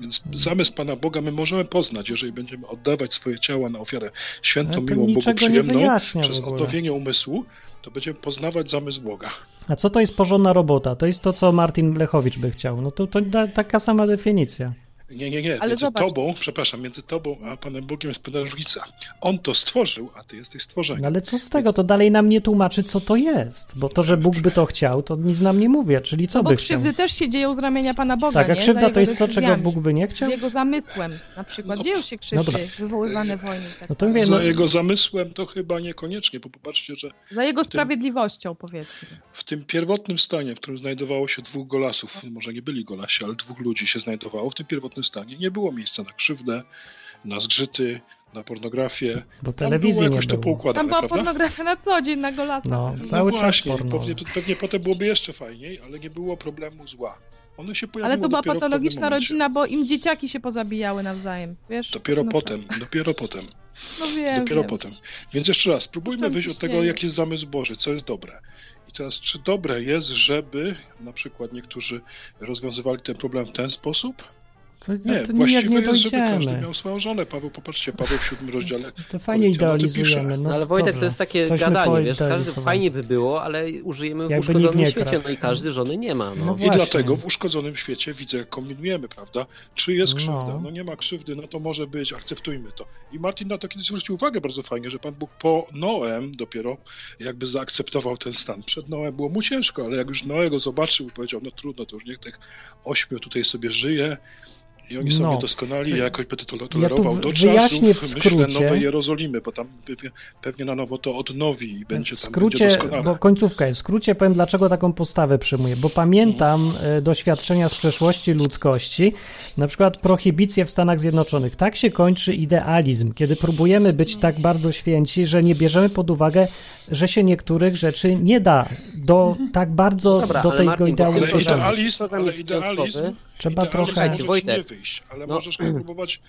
Więc zamysł Pana Boga my możemy poznać, jeżeli będziemy oddawać swoje ciała na ofiarę świętą, Ale to miłą, Bogu niczego nie przyjemną wyjaśnia w przez ogóle. odnowienie umysłu, to będziemy poznawać zamysł Boga. A co to jest porządna robota? To jest to, co Martin Lechowicz by chciał. No to, to da, taka sama definicja. Nie, nie, nie. Ale między zobacz- tobą, przepraszam, między tobą a Panem Bogiem jest pewna różnica. On to stworzył, a ty jesteś No stworzeniem. ale co z tego? To dalej nam nie tłumaczy, co to jest. Bo to, że Bóg by to chciał, to nic nam nie mówi. Czyli co No bo by chciał? krzywdy też się dzieją z ramienia Pana Boga. Tak, a nie? krzywda Za to jego jest to, czego decyzjami, Bóg by nie chciał? Z jego zamysłem. Na przykład dzieją się No krzywdy dobra. wywoływane wojny. i Tak No to dalej. mówię, no, Za jego zamysłem to chyba niekoniecznie, bo popatrzcie, że Za jego sprawiedliwością, powiedzmy. w tym pierwotnym stanie, w którym znajdowało się dwóch golasów, może nie byli golasi, ale dwóch ludzi się znajdowało, w tym pierwotnym wykorzystanie. Nie było miejsca na krzywdę, na zgrzyty, na pornografię. Bo Tam telewizji było nie jakoś to było. poukładane, Tam była prawda? pornografia na co dzień, na Mm. golasa. No, cały no czas właśnie, i porno. Pewnie, pewnie potem byłoby jeszcze fajniej, ale nie było problemu zła. Ono się pojawiło Ale to była dopiero w pewnym patologiczna momencie. rodzina, bo im dzieciaki się pozabijały nawzajem, wiesz? Dopiero no, potem, dopiero potem. No wiem, Dopiero wiem. potem. Więc jeszcze raz, spróbujmy Puszczam wyjść od tego, ciśnienie. jaki jest zamysł Boży, co jest dobre. I teraz, czy dobre jest, żeby na przykład niektórzy rozwiązywali ten problem w ten sposób? To, Nie, to nijak właściwe nie jest, żeby każdy dojdziemy. miał swoją żonę. Paweł, popatrzcie, Paweł w siódmym rozdziale. To fajnie Koryntian o tym idealizujemy. pisze. No, No ale Wojtek, dobra. to jest takie Tośmy gadanie, wiesz, poidealizowali. każdy fajnie by było, ale użyjemy w Jakby uszkodzonym nikt nie świecie, kradł. no i każdy żony nie ma. No. No I właśnie. dlatego w uszkodzonym świecie widzę, jak kombinujemy, prawda? Czy jest No. krzywda? No. nie ma krzywdy, no to może być, akceptujmy to. I Martin na to kiedyś zwrócił uwagę bardzo fajnie, że Pan Bóg po Noem dopiero jakby zaakceptował ten stan. Przed Noem było mu ciężko, ale jak już Noego zobaczył i powiedział, no trudno, to już niech tych ośmiu tutaj sobie żyje i oni są No. niedoskonali, Czy- ja jakoś będę to ja tolerował tu do wy- czasu, wyjaśnię w myślę, skrócie. Nowej Jerozolimy, bo tam pe- pewnie na nowo to odnowi i będzie w tam skrócie, będzie doskonale. bo końcówka jest. W skrócie powiem, dlaczego taką postawę przyjmuję. Bo pamiętam Mhm. e, doświadczenia z przeszłości ludzkości, na przykład prohibicję w Stanach Zjednoczonych. Tak się kończy idealizm, kiedy próbujemy być tak bardzo święci, że nie bierzemy pod uwagę, że się niektórych rzeczy nie da do, tak bardzo Dobra, do ale tego Martin, bo w ideału tym Mhm. Ale programie- dążyć. ideali- idealizm, program ale jest idealizm, wyjątkowy. Trzeba idealizm trochę- możesz Wojtek. nie wyjść, ale No. możesz próbować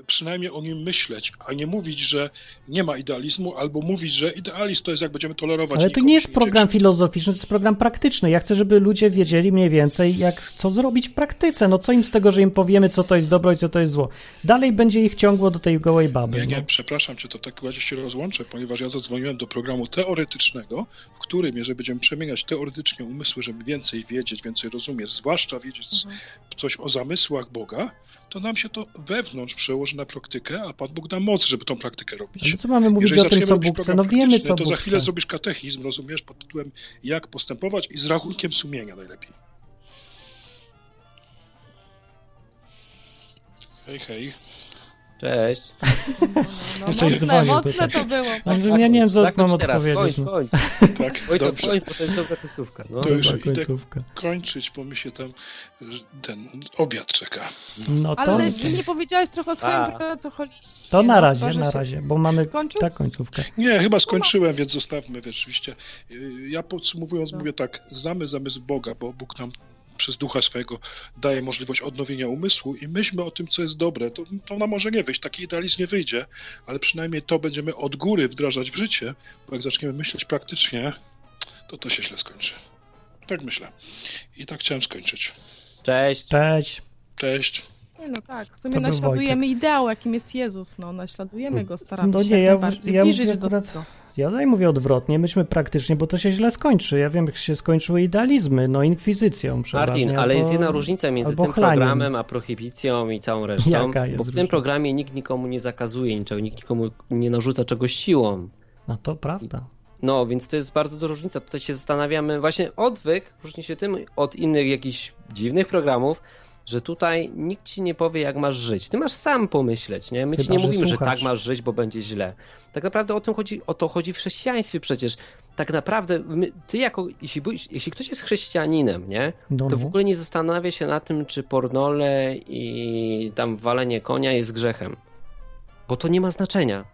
y, przynajmniej o nim myśleć, a nie mówić, że nie ma idealizmu, albo mówić, że idealizm to jest jak będziemy tolerować. Ale to nikomu nie się jest program dzieje filozoficzny, to jest program praktyczny. Ja chcę, żeby ludzie wiedzieli mniej więcej, jak co zrobić w praktyce. No co im z tego, że im powiemy, co to jest dobro i co to jest zło. Dalej będzie ich ciągło do tej gołej baby. Nie, nie, no. przepraszam cię, to w takim razie się rozłączę, ponieważ ja zadzwoniłem do programu teoretycznego, w którym, jeżeli będziemy przemieniać teoretycznie umysły, żeby więcej wiedzieć, więcej rozumieć, zwłaszcza wiedzieć z- Mhm. coś o zamysłach Boga, to nam się to wewnątrz przełoży na praktykę, a Pan Bóg da moc, żeby tą praktykę robić. Ale co mamy mówić Jeżeli o tym, zaczniemy co robić Bóg chce? program No wiemy, praktyczny, co To Bóg za chwilę chce. zrobisz katechizm, rozumiesz, pod tytułem jak postępować i z rachunkiem sumienia najlepiej. Hej, hej. Cześć. No, Coś mocne, dzwonił mocne tutaj. to było. Ale że ja nie wiem, co mam Zakończ teraz, odpowiedzieć. kończ, No. kończ. Tak, Wojtek, dobrze. kończ, bo to jest dobra końcówka. No. To już Dobra, idę. końcówka. Kończyć, bo mi się tam że ten obiad czeka. No to, Ale nie powiedziałeś trochę o swoim A. pracoholizmie. to na no, razie, że na się- razie, bo mamy Skończył? tak końcówkę. Nie, chyba skończyłem, więc zostawmy rzeczywiście. Yy, Ja podsumowując No. mówię tak, znamy zamysł Boga, bo Bóg nam przez ducha swojego daje możliwość odnowienia umysłu i myślmy o tym, co jest dobre. To, to nam może nie wyjść, taki idealizm nie wyjdzie, ale przynajmniej to będziemy od góry wdrażać w życie, bo jak zaczniemy myśleć praktycznie, to to się źle skończy. Tak myślę. I tak chciałem skończyć. Cześć. Cześć. Cześć. Nie, no tak, w sumie To był naśladujemy ideał, jakim jest Jezus, no naśladujemy go, staramy No się nie, jak ja- najbardziej ja bliżyć mówię do akurat- tego. Ja tutaj mówię odwrotnie, myślmy praktycznie, bo to się źle skończy. Ja wiem, jak się skończyły idealizmy, no inkwizycją przeważnie. Martin, ale albo- jest jedna różnica między albo tym chlaniem. programem a prohibicją i całą resztą. Jaka jest bo w tym różnica? programie nikt nikomu nie zakazuje niczego, nikt nikomu nie narzuca czegoś siłą. No to prawda. No, więc to jest bardzo duża różnica. Tutaj się zastanawiamy, właśnie odwyk różni się tym od innych jakichś dziwnych programów, że tutaj nikt ci nie powie, jak masz żyć. Ty masz sam pomyśleć, nie? My ci Chyba, nie że mówimy, że słuchasz. tak masz żyć, bo będzie źle. Tak naprawdę o, tym chodzi, o to chodzi w chrześcijaństwie przecież. Tak naprawdę, my, ty jako, jeśli, byłeś- jeśli ktoś jest chrześcijaninem, nie? No, To w no. ogóle nie zastanawia się na tym, czy pornole i tam walenie konia jest grzechem. Bo to nie ma znaczenia.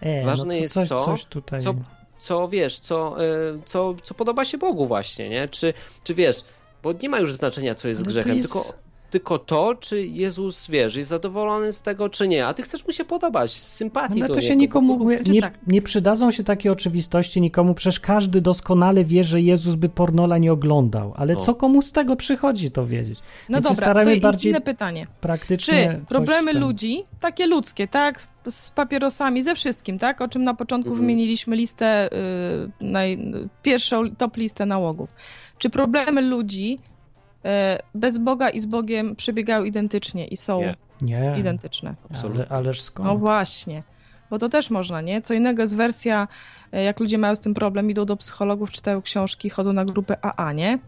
E, ważne no co, jest coś, to, coś tutaj. No co- Co wiesz, co, y, co, co podoba się Bogu właśnie, nie? Czy, czy wiesz, bo nie ma już znaczenia, co jest Ale No to grzechem, jest- Tylko, tylko to, czy Jezus, wiesz, jest zadowolony z tego, czy nie. A ty chcesz mu się podobać, z sympatii Ale No do to się niego, bo- nikomu Czy nie, tak? nie przydadzą się takie oczywistości nikomu, przecież każdy doskonale wie, że Jezus by pornola nie oglądał, ale No. co komu z tego przychodzi to wiedzieć? No Więc się dobra, to staramy i- bardziej inne pytanie. Praktycznie Czy coś problemy tam- ludzi, takie ludzkie, tak? Z papierosami, ze wszystkim, tak? O czym na początku Mhm. wymieniliśmy listę, y, naj, pierwszą top listę nałogów. Czy problemy ludzi y, bez Boga i z Bogiem przebiegają identycznie i są Nie. Nie, identyczne? ale, Absolutnie. ależ No skąd? właśnie, bo to też można, nie? Co innego jest wersja, e, jak ludzie mają z tym problem, idą do psychologów, czytają książki, chodzą na grupy AA, nie?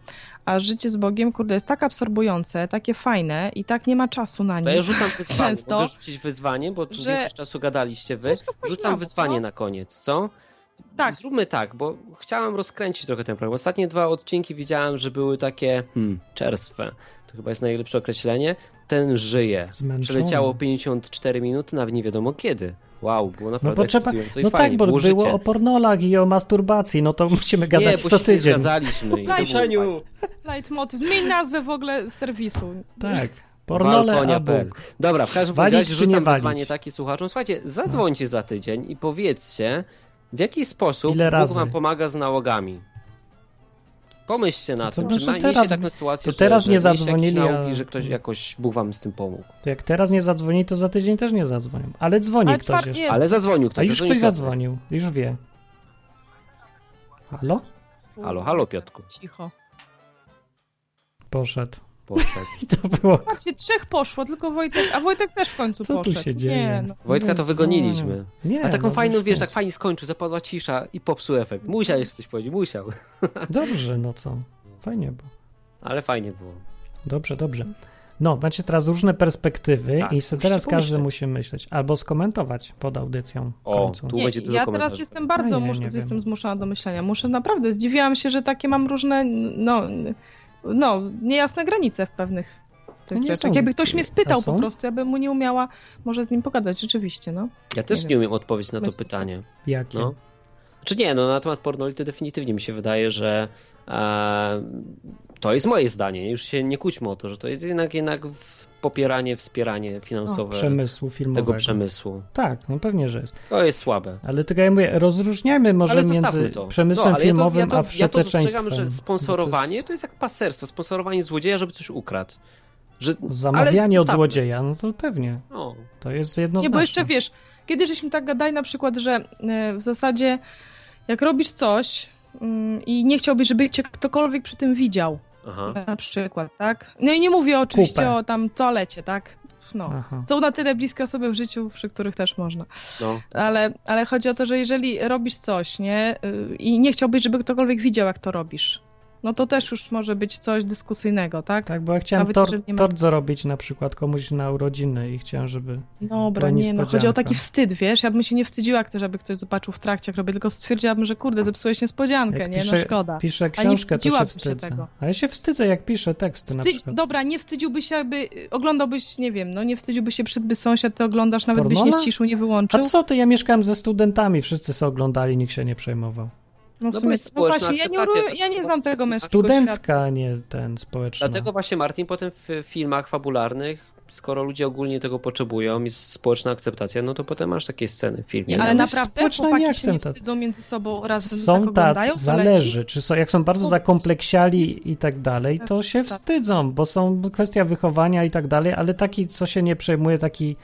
A życie z Bogiem, kurde, jest tak absorbujące, takie fajne i tak nie ma czasu na To ja nic. rzucam wyzwanie. Często, Mogę rzucić wyzwanie, bo tu że- większość czasu gadaliście wy. Coś tu poszło, Rzucam wyzwanie no. na koniec, co? Tak. Zróbmy tak, bo chciałem rozkręcić trochę ten program. Ostatnie dwa odcinki widziałem, że były takie hmm, czerstwe. To to chyba jest najlepsze określenie, ten żyje. Zmęczony. Przeleciało 54 minuty, nawet nie wiadomo kiedy. Wow, było No naprawdę bo trzeba, ekscytujące i no fajnie, tak, bo było życie. o pornolach i o masturbacji, no to musimy nie, gadać co bo się nie tydzień. zgadzaliśmy. i to było fajne. Leitmotiv. Zmień nazwę w ogóle serwisu. Tak. Pornole a Balkonia.pl. Bóg. Dobra, w każdym Walić razie czy rzucam nie walić? wyzwanie takie słuchaczom. Słuchajcie, zadzwońcie za tydzień i powiedzcie, w jaki sposób Ile Bóg razy? wam pomaga z nałogami. Pomyślcie na to tym, może czy ma, teraz- mieliście taką sytuację, to teraz że, nie że mieliście zadzwonili, jakieś a- nałogi, że ktoś jakoś Bóg wam z tym pomógł. To jak teraz nie zadzwoni, to za tydzień też nie zadzwonią. Ale dzwoni Ale ktoś czwar- jeszcze. nie. Ale zadzwonił A ktoś. już ktoś zadzwonił, już wie. Halo? Halo, halo Piotku. Cicho. Poszedł. Poszedł. I to było... Patrzcie, trzech poszło, tylko Wojtek, a Wojtek też w końcu Co tu poszedł. się Nie, dzieje? no. Wojtka to Dzwonił. wygoniliśmy. Nie, A taką no, fajną, już wiesz, nie. tak fajnie skończył, zapadła cisza i popsuł efekt. Musiał jeszcze coś powiedzieć, musiał. tak- Dobrze, no co. Fajnie było. Ale fajnie było. Dobrze, dobrze. No, macie teraz różne perspektywy Tak, i se musicie teraz każdy pomyśleć. musi myśleć. Albo skomentować pod audycją w O, końcu. tu będzie dużo ja komentarzy. teraz jestem bardzo A ja mus- nie jestem wiem. zmuszona do myślenia. Muszę naprawdę, zdziwiłam się, że takie mam różne, no, no niejasne granice w pewnych To tych nie rzeczach. są- Jakby ktoś mnie A spytał są? po prostu, ja bym mu nie umiała może z nim pogadać, rzeczywiście, no. Ja też Nie nie, wiem. umiem odpowiedzieć na to Myślę, że- pytanie. Jakie? No. Czy nie, no na temat pornoli to definitywnie mi się wydaje, że e, to jest moje zdanie. Już się nie kłóćmy o to, że to jest jednak, jednak w- popieranie, wspieranie O, finansowe przemysłu filmowego. e, tego przemysłu. Tak, no pewnie, że jest. To jest słabe. Ale tylko ja mówię, rozróżniajmy może Ale między zostawmy to. przemysłem no, ale filmowym ja to, ja a to, ja to wszeteczeństwem. dostrzegam, że sponsorowanie to jest jak paserstwo. Sponsorowanie złodzieja, żeby coś ukradł. Że, ale Zamawianie od zostawmy. złodzieja, no to pewnie. No, To jest jednoznaczne. Nie, bo jeszcze wiesz, kiedy żeśmy tak gadali na przykład, że e, w zasadzie jak robisz coś mm, i nie chciałbyś, żeby cię ktokolwiek przy tym widział, aha. na przykład, tak? No i nie mówię oczywiście Kupę. o tam toalecie, tak? No. Aha. Są na tyle bliskie osoby w życiu, przy których też można. No. Ale, ale chodzi o to, że jeżeli robisz coś, nie? y, I nie chciałbyś, żeby ktokolwiek widział, jak to robisz. No to też już może być coś dyskusyjnego, tak? Tak, bo ja chciałem Nawet tor, jeżeli nie ma- tort zrobić na przykład komuś na urodziny i chciałem, żeby... Dobra, Była nie, no chodzi o niespodzianka. taki wstyd, wiesz? Ja bym się nie wstydziła, jak to, żeby ktoś zobaczył w trakcie, jak robię, tylko stwierdziłabym, że kurde, zepsułeś niespodziankę, Jak nie? piszę, no szkoda. piszę A nie książkę, to się wstydziłabym się wstydzę. tego. A ja się wstydzę, jak piszę teksty na Wstydź, przykład. dobra, nie wstydziłbyś się, jakby oglądałbyś, nie wiem, no nie wstydziłbyś się, przyszedłby sąsiad, ty oglądasz, nawet byś Pornola? nie ściszył, nie A wyłączył. co No ty, ja mieszkałem ze studentami, wszyscy se oglądali, nikt się nie przejmował. No, bo w sumie, jest no społeczna właśnie, ja nie, akceptacja, umiem- ja nie to- znam tego męskiego świata. Studencka, a nie ten społeczny. Dlatego właśnie Martin potem w filmach fabularnych, skoro ludzie ogólnie tego potrzebują, jest społeczna akceptacja, no to potem masz takie sceny w filmie. Nie, Ale to jest naprawdę społeczna chłopaki się nie nieakceptacja. wstydzą między sobą razem tak są oglądają? tacy, co leci? zależy, czy są, jak są bardzo To- zakompleksiali i tak dalej, to się wstydzą, bo są kwestia wychowania i tak dalej, ale taki, co się nie przejmuje, taki,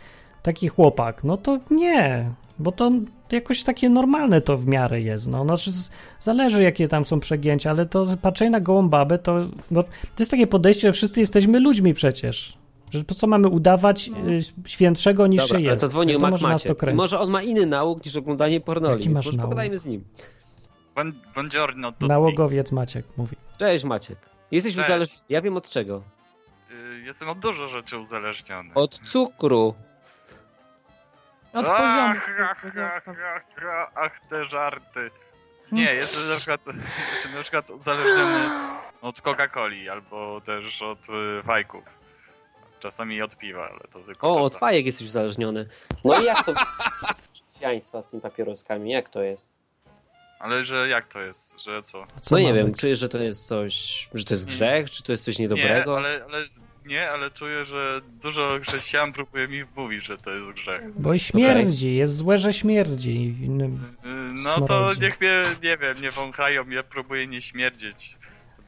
taki chłopak, no to nie, bo to jakoś takie normalne to w miarę jest, no, znaczy z- zależy jakie tam są przegięcia, ale to patrzenie na gołą babę, to, no, to jest takie podejście, że wszyscy jesteśmy ludźmi przecież. Że po co mamy udawać No. y, świętszego niż Dobra, się ale jest? zadzwonił to Mac może nas to Maciek. kręci. Może on ma inny nauk niż oglądanie pornoli, Jaki więc masz może nauk? pogadajmy z nim. Buon- Buongiorno tutti. Nałogowiec Maciek mówi. Cześć Maciek. Jesteś Cześć. uzależniony, ja wiem od czego. Y, Jestem od dużo rzeczy uzależniony. Od cukru. Od poziomu. Ach, ach, cyrku ach, został. ach, ach, ach, te żarty. Nie, jestem na przykład, jestem na przykład uzależniony od Coca-Coli albo też od y, fajków. Czasami od piwa, ale to tylko O, od czasami. fajek jesteś uzależniony. No i jak to chrześcijaństwa z tymi papieroskami, jak to jest? Ale że jak to jest, że co? A co No nie ma wiem, być? czujesz, że to jest coś, że to jest Mm. grzech, czy to jest coś niedobrego? Nie, ale, ale, nie, ale czuję, że dużo chrześcijan próbuje mi wmówić, że to jest grzech. Bo śmierdzi, jest złe, że śmierdzi. Innym- Y, No to Smrodzi. niech mnie, nie wiem, nie wąchają, ja próbuję nie śmierdzieć.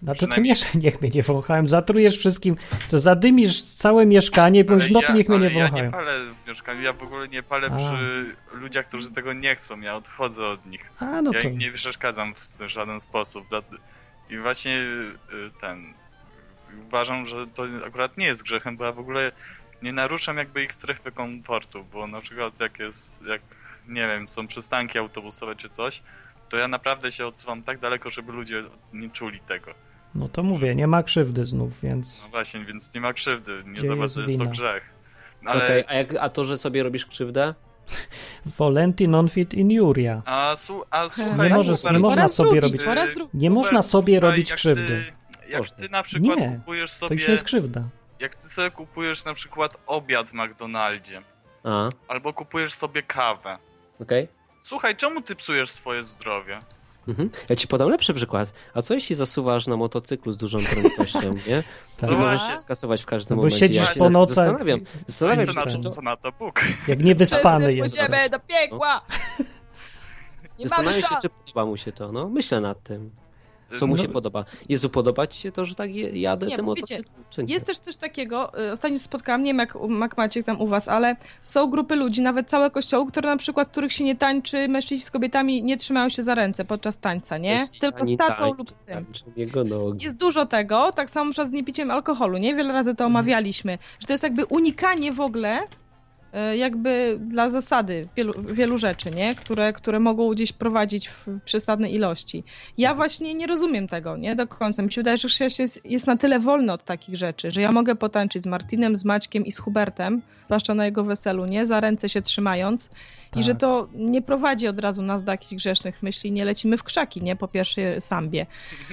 Znaczy to Przynajmniej- nie, że niech mnie nie wąchają, zatrujesz wszystkim, to zadymisz całe mieszkanie i powiesz, Ale no to niech mnie ale nie Ja nie wąchają. palę mieszkami, ja w ogóle nie palę A. przy ludziach, którzy tego nie chcą, ja odchodzę od nich. A no ja to, im nie przeszkadzam w żaden sposób. Dla- I właśnie y, ten. Uważam, że to akurat nie jest grzechem, bo ja w ogóle nie naruszam jakby ich strefy komfortu, bo na przykład jak jest, jak nie wiem, są przystanki autobusowe czy coś, to ja naprawdę się odsuwam tak daleko, żeby ludzie nie czuli tego. no to mówię, nie ma krzywdy znów, więc No właśnie, więc nie ma krzywdy, nie Gdzie za jest bardzo jest to wina? grzech. Okej, No Ale a, jak, a to, że sobie robisz krzywdę? volenti non fit injuria. A, su, a słuchaj, Nie możesz- nie Hubert, można Oraz sobie drugi, robić- Oraz y, drugi. Nie można Hubert, sobie słuchaj, robić jak krzywdy. jak ty na przykład Nie, kupujesz to sobie... już nie jest krzywda. Jak ty sobie kupujesz na przykład obiad w McDonaldzie, A, albo kupujesz sobie kawę. okej. Słuchaj, czemu ty psujesz swoje zdrowie? Mhm. Ja ci podam lepszy przykład. A co jeśli zasuwasz na motocyklu z dużą prędkością, nie? Tak. I No możesz właśnie. się skasować w No każdym bo momencie. siedzisz po tak nocach Zastanawiam, i- zastanawiam Co się, na czy to- to... co na znaczy to Bóg. Jak niewyspany jest. Pójdziemy do piekła! Nie mamy No. Zastanawiam się, szans! czy podoba mu się to. No, myślę nad tym. Co No. mu się podoba? Jezu, podoba ci się to, że tak je- jadę Nie, tym bo wiecie, motocyklem? czy nie? jest też coś takiego, y, ostatnio spotkałam, nie wiem jak, u- jak macie tam u was, ale są grupy ludzi, nawet całe kościoły, które na przykład, których się nie tańczy, mężczyźni z kobietami nie trzymają się za ręce podczas tańca, nie? Jeśli Tylko ani z tatą tak, lub z tym. tak, czy Jego nogi. Jest dużo tego, tak samo przed z niepiciem alkoholu, nie? Wiele razy to omawialiśmy, że to jest jakby unikanie w ogóle e, jakby dla zasady wielu, wielu rzeczy, nie? Które, które mogą gdzieś prowadzić w przesadnej ilości. Ja właśnie nie rozumiem tego, nie? Do końca. Mi się wydaje, że chrześcijaństwo jest, jest na tyle wolne od takich rzeczy, że ja mogę potańczyć z Martinem, z Maćkiem i z Hubertem, zwłaszcza na jego weselu, nie? Za ręce się trzymając i Tak. że to nie prowadzi od razu nas do jakichś grzesznych myśli, nie lecimy w krzaki, nie? Po pierwsze sambie,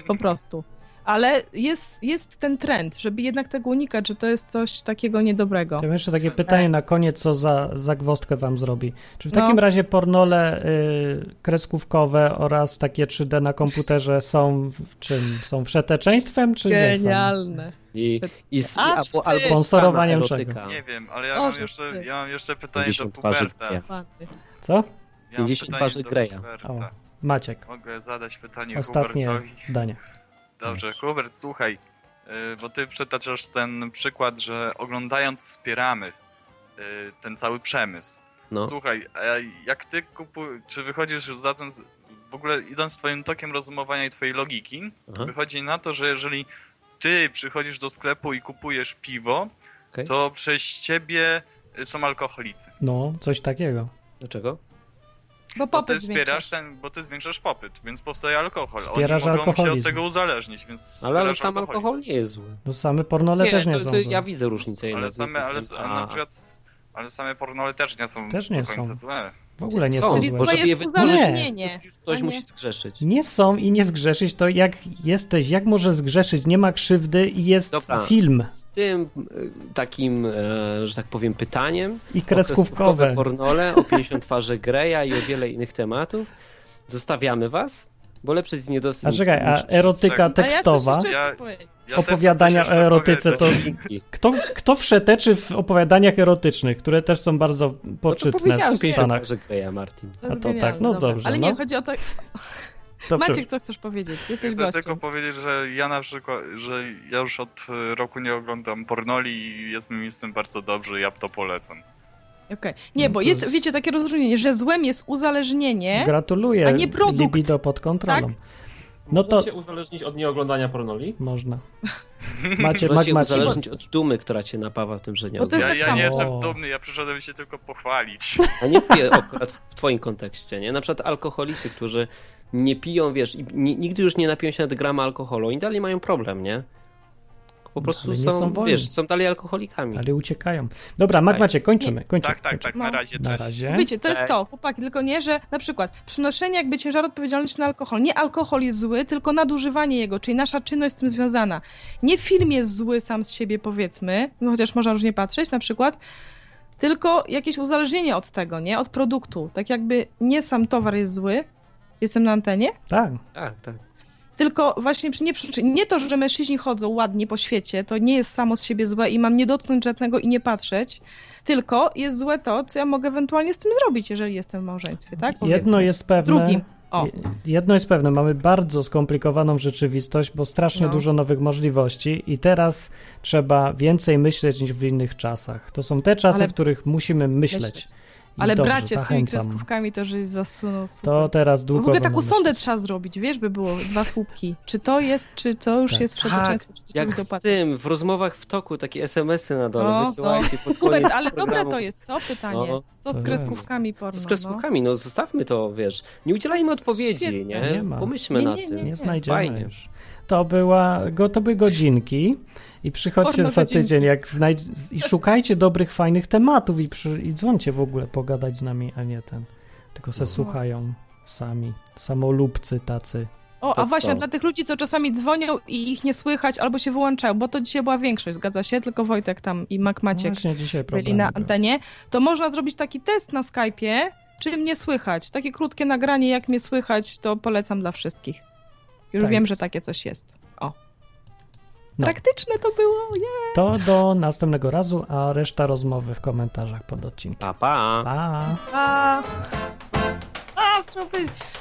po prostu. Ale jest, jest ten trend, żeby jednak tego unikać, że to jest coś takiego niedobrego. Ja mam jeszcze takie pytanie na koniec, co za zagwozdkę wam zrobi. Czy w No. takim razie pornole y, kreskówkowe oraz takie 3D na komputerze są w czym? Są wszeteczeństwem, czy nie są? Genialne. I, i z, i, Aż albo, ty. albo Sponsorowaniem sama erotyka. Nie wiem, ale ja O, mam że jeszcze, ty. ja mam jeszcze pytanie do 50 twarzy Puberta. Greya. Co? Ja mam 50 pytanie twarzy do Greya. Huberta. O, Maciek, Mogę zadać pytanie ostatnie Hubertowi. zdanie. Dobrze, Hubert, słuchaj, y, bo ty przytaczasz ten przykład, że oglądając wspieramy y, ten cały przemysł. No. Słuchaj, a jak ty kupujesz, czy wychodzisz zatem, z- w ogóle idąc twoim tokiem rozumowania i twojej logiki, Aha. wychodzi na to, że jeżeli ty przychodzisz do sklepu i kupujesz piwo, Okej. to przez ciebie y, są alkoholicy. No, coś takiego. Dlaczego? Bo ty popyt zwiększasz. zbierasz ten, bo ty zwiększasz popyt, więc powstaje alkohol. Wspierasz Oni mogą się od alkoholizm. tego uzależnić, więc Ale, ale wspierasz sam alkoholizm. alkohol nie jest zły. No same pornole też nie to, są to złe. Ja widzę różnicę Ale jednak same, między ale, tym, ale a- na przykład, ale same pornole też nie są Też nie do końca są. złe. W ogóle nie Są, są Czyli złe. to żeby je jest wytworzyć, uzależnienie. Ktoś a nie- musi zgrzeszyć. Nie są i nie zgrzeszyć, to jak jesteś, jak możesz zgrzeszyć? Nie ma krzywdy i jest Dobra. film. Z tym y, takim, e, że tak powiem, pytaniem. I o kreskówkowe. pornole, o 50 twarzy Greya i o wiele innych tematów. Zostawiamy was, bo lepsze jest niedosyć. A czekaj, a erotyka Ale ja coś tekstowa, jeszcze chcę Ja- powiedzieć. opowiadania o erotyce, to Dzięki. kto, kto wszeteczy w opowiadaniach erotycznych, które też są bardzo No to poczytne powiedziałem w Stanach. twarzy Greya, Martin. To jest A to genialne, tak, no dobra. dobrze, Ale nie, no. chodzi o to... Dobrze. Maciek, co chcesz powiedzieć? Jesteś Chcę tylko gościem. powiedzieć, że ja na przykład, że ja już od e, roku nie oglądam pornoli i jest mi z tym bardzo dobrze, ja to polecam. Okej. Nie, No bo to jest, jest- wiecie, takie rozróżnienie, że złem jest uzależnienie, Gratuluję, A nie produkt. libido pod kontrolą. No Można to się uzależnić od nieoglądania pornoli? można. Macie, Można się Mac, Macie, uzależnić od dumy, która cię napawa tym, że nie Bo to jest Ja, tak ja samo. nie O. jestem dumny, ja przyszedłem się tylko pochwalić. A nie piję akurat w twoim kontekście, nie? Na przykład alkoholicy, którzy nie piją, wiesz, i ni- nigdy już nie napiją się nad grama alkoholu i dalej mają problem, nie? Po prostu No, Ale nie są, są wolni. wiesz, są dalej alkoholikami. ale uciekają. Dobra, Mac, Tak. Macie, kończymy, kończymy. Tak, tak, tak, No. na razie, Na cześć. razie. Wiecie, to jest Cześć. to, chłopaki, tylko nie, że na przykład przynoszenie jakby ciężaru odpowiedzialności na alkohol. Nie alkohol jest zły, tylko nadużywanie jego, czyli nasza czynność z tym związana. Nie film jest zły sam z siebie, powiedzmy, no chociaż można różnie patrzeć na przykład, tylko jakieś uzależnienie od tego, nie? Od produktu. Tak jakby nie sam towar jest zły, jestem na antenie, Tak. Tak, tak. Tylko właśnie przy- nie, przy- nie to, że mężczyźni chodzą ładnie po świecie, to nie jest samo z siebie złe i mam nie dotknąć żadnego i nie patrzeć, tylko jest złe to, co ja mogę ewentualnie z tym zrobić, jeżeli jestem w małżeństwie, tak? Jedno Powiedzmy. jest Z pewne. drugim. O. Jedno jest pewne, mamy bardzo skomplikowaną rzeczywistość, bo strasznie No. dużo nowych możliwości i teraz trzeba więcej myśleć niż w innych czasach. To są te czasy, Ale- w których musimy myśleć. Myśleć. I Ale dobrze, bracie z tymi zachęcam. kreskówkami to żeś zasunął. super. To teraz w długo ogóle taką będę sondę myśleć. trzeba zrobić, wiesz, by było dwa słupki. Czy to jest, czy to już Tak. jest wszelbeczeństwo, czy to czegoś Jak w dopadnie. tym, w rozmowach w toku, takie SMS-y na dole No, wysyłajcie pod koniec Hubert, ale dobre programu. to jest, co? Pytanie. No, co z to kreskówkami porno? Z kreskówkami, no zostawmy to, wiesz. Nie udzielajmy odpowiedzi, Świetne. nie? Nie ma. Pomyślmy Nie, na nie, tym. Nie znajdziemy Fajnie. już. To, była, go, to były godzinki i przychodźcie Porno za godzinki. tydzień jak znajdź, z- i szukajcie dobrych, fajnych tematów i, przy, i dzwońcie w ogóle No. pogadać z nami, a nie ten. Tylko se słuchają sami. Samolubcy tacy O, To a właśnie co? dla tych ludzi, co czasami dzwonią i ich nie słychać albo się wyłączają, bo to dzisiaj była większość, zgadza się? Tylko Wojtek tam i Mac Maciek No Właśnie dzisiaj byli problemy na były. antenie. To można zrobić taki test na Skype'ie, czy mnie słychać. Takie krótkie nagranie, jak mnie słychać, to polecam dla wszystkich. Już Tak wiem, jest. że takie coś jest. O. No. Praktyczne to było, je! To do następnego razu, a reszta rozmowy w komentarzach pod odcinkiem. Pa, pa. pa. A, a, co powiedzieć?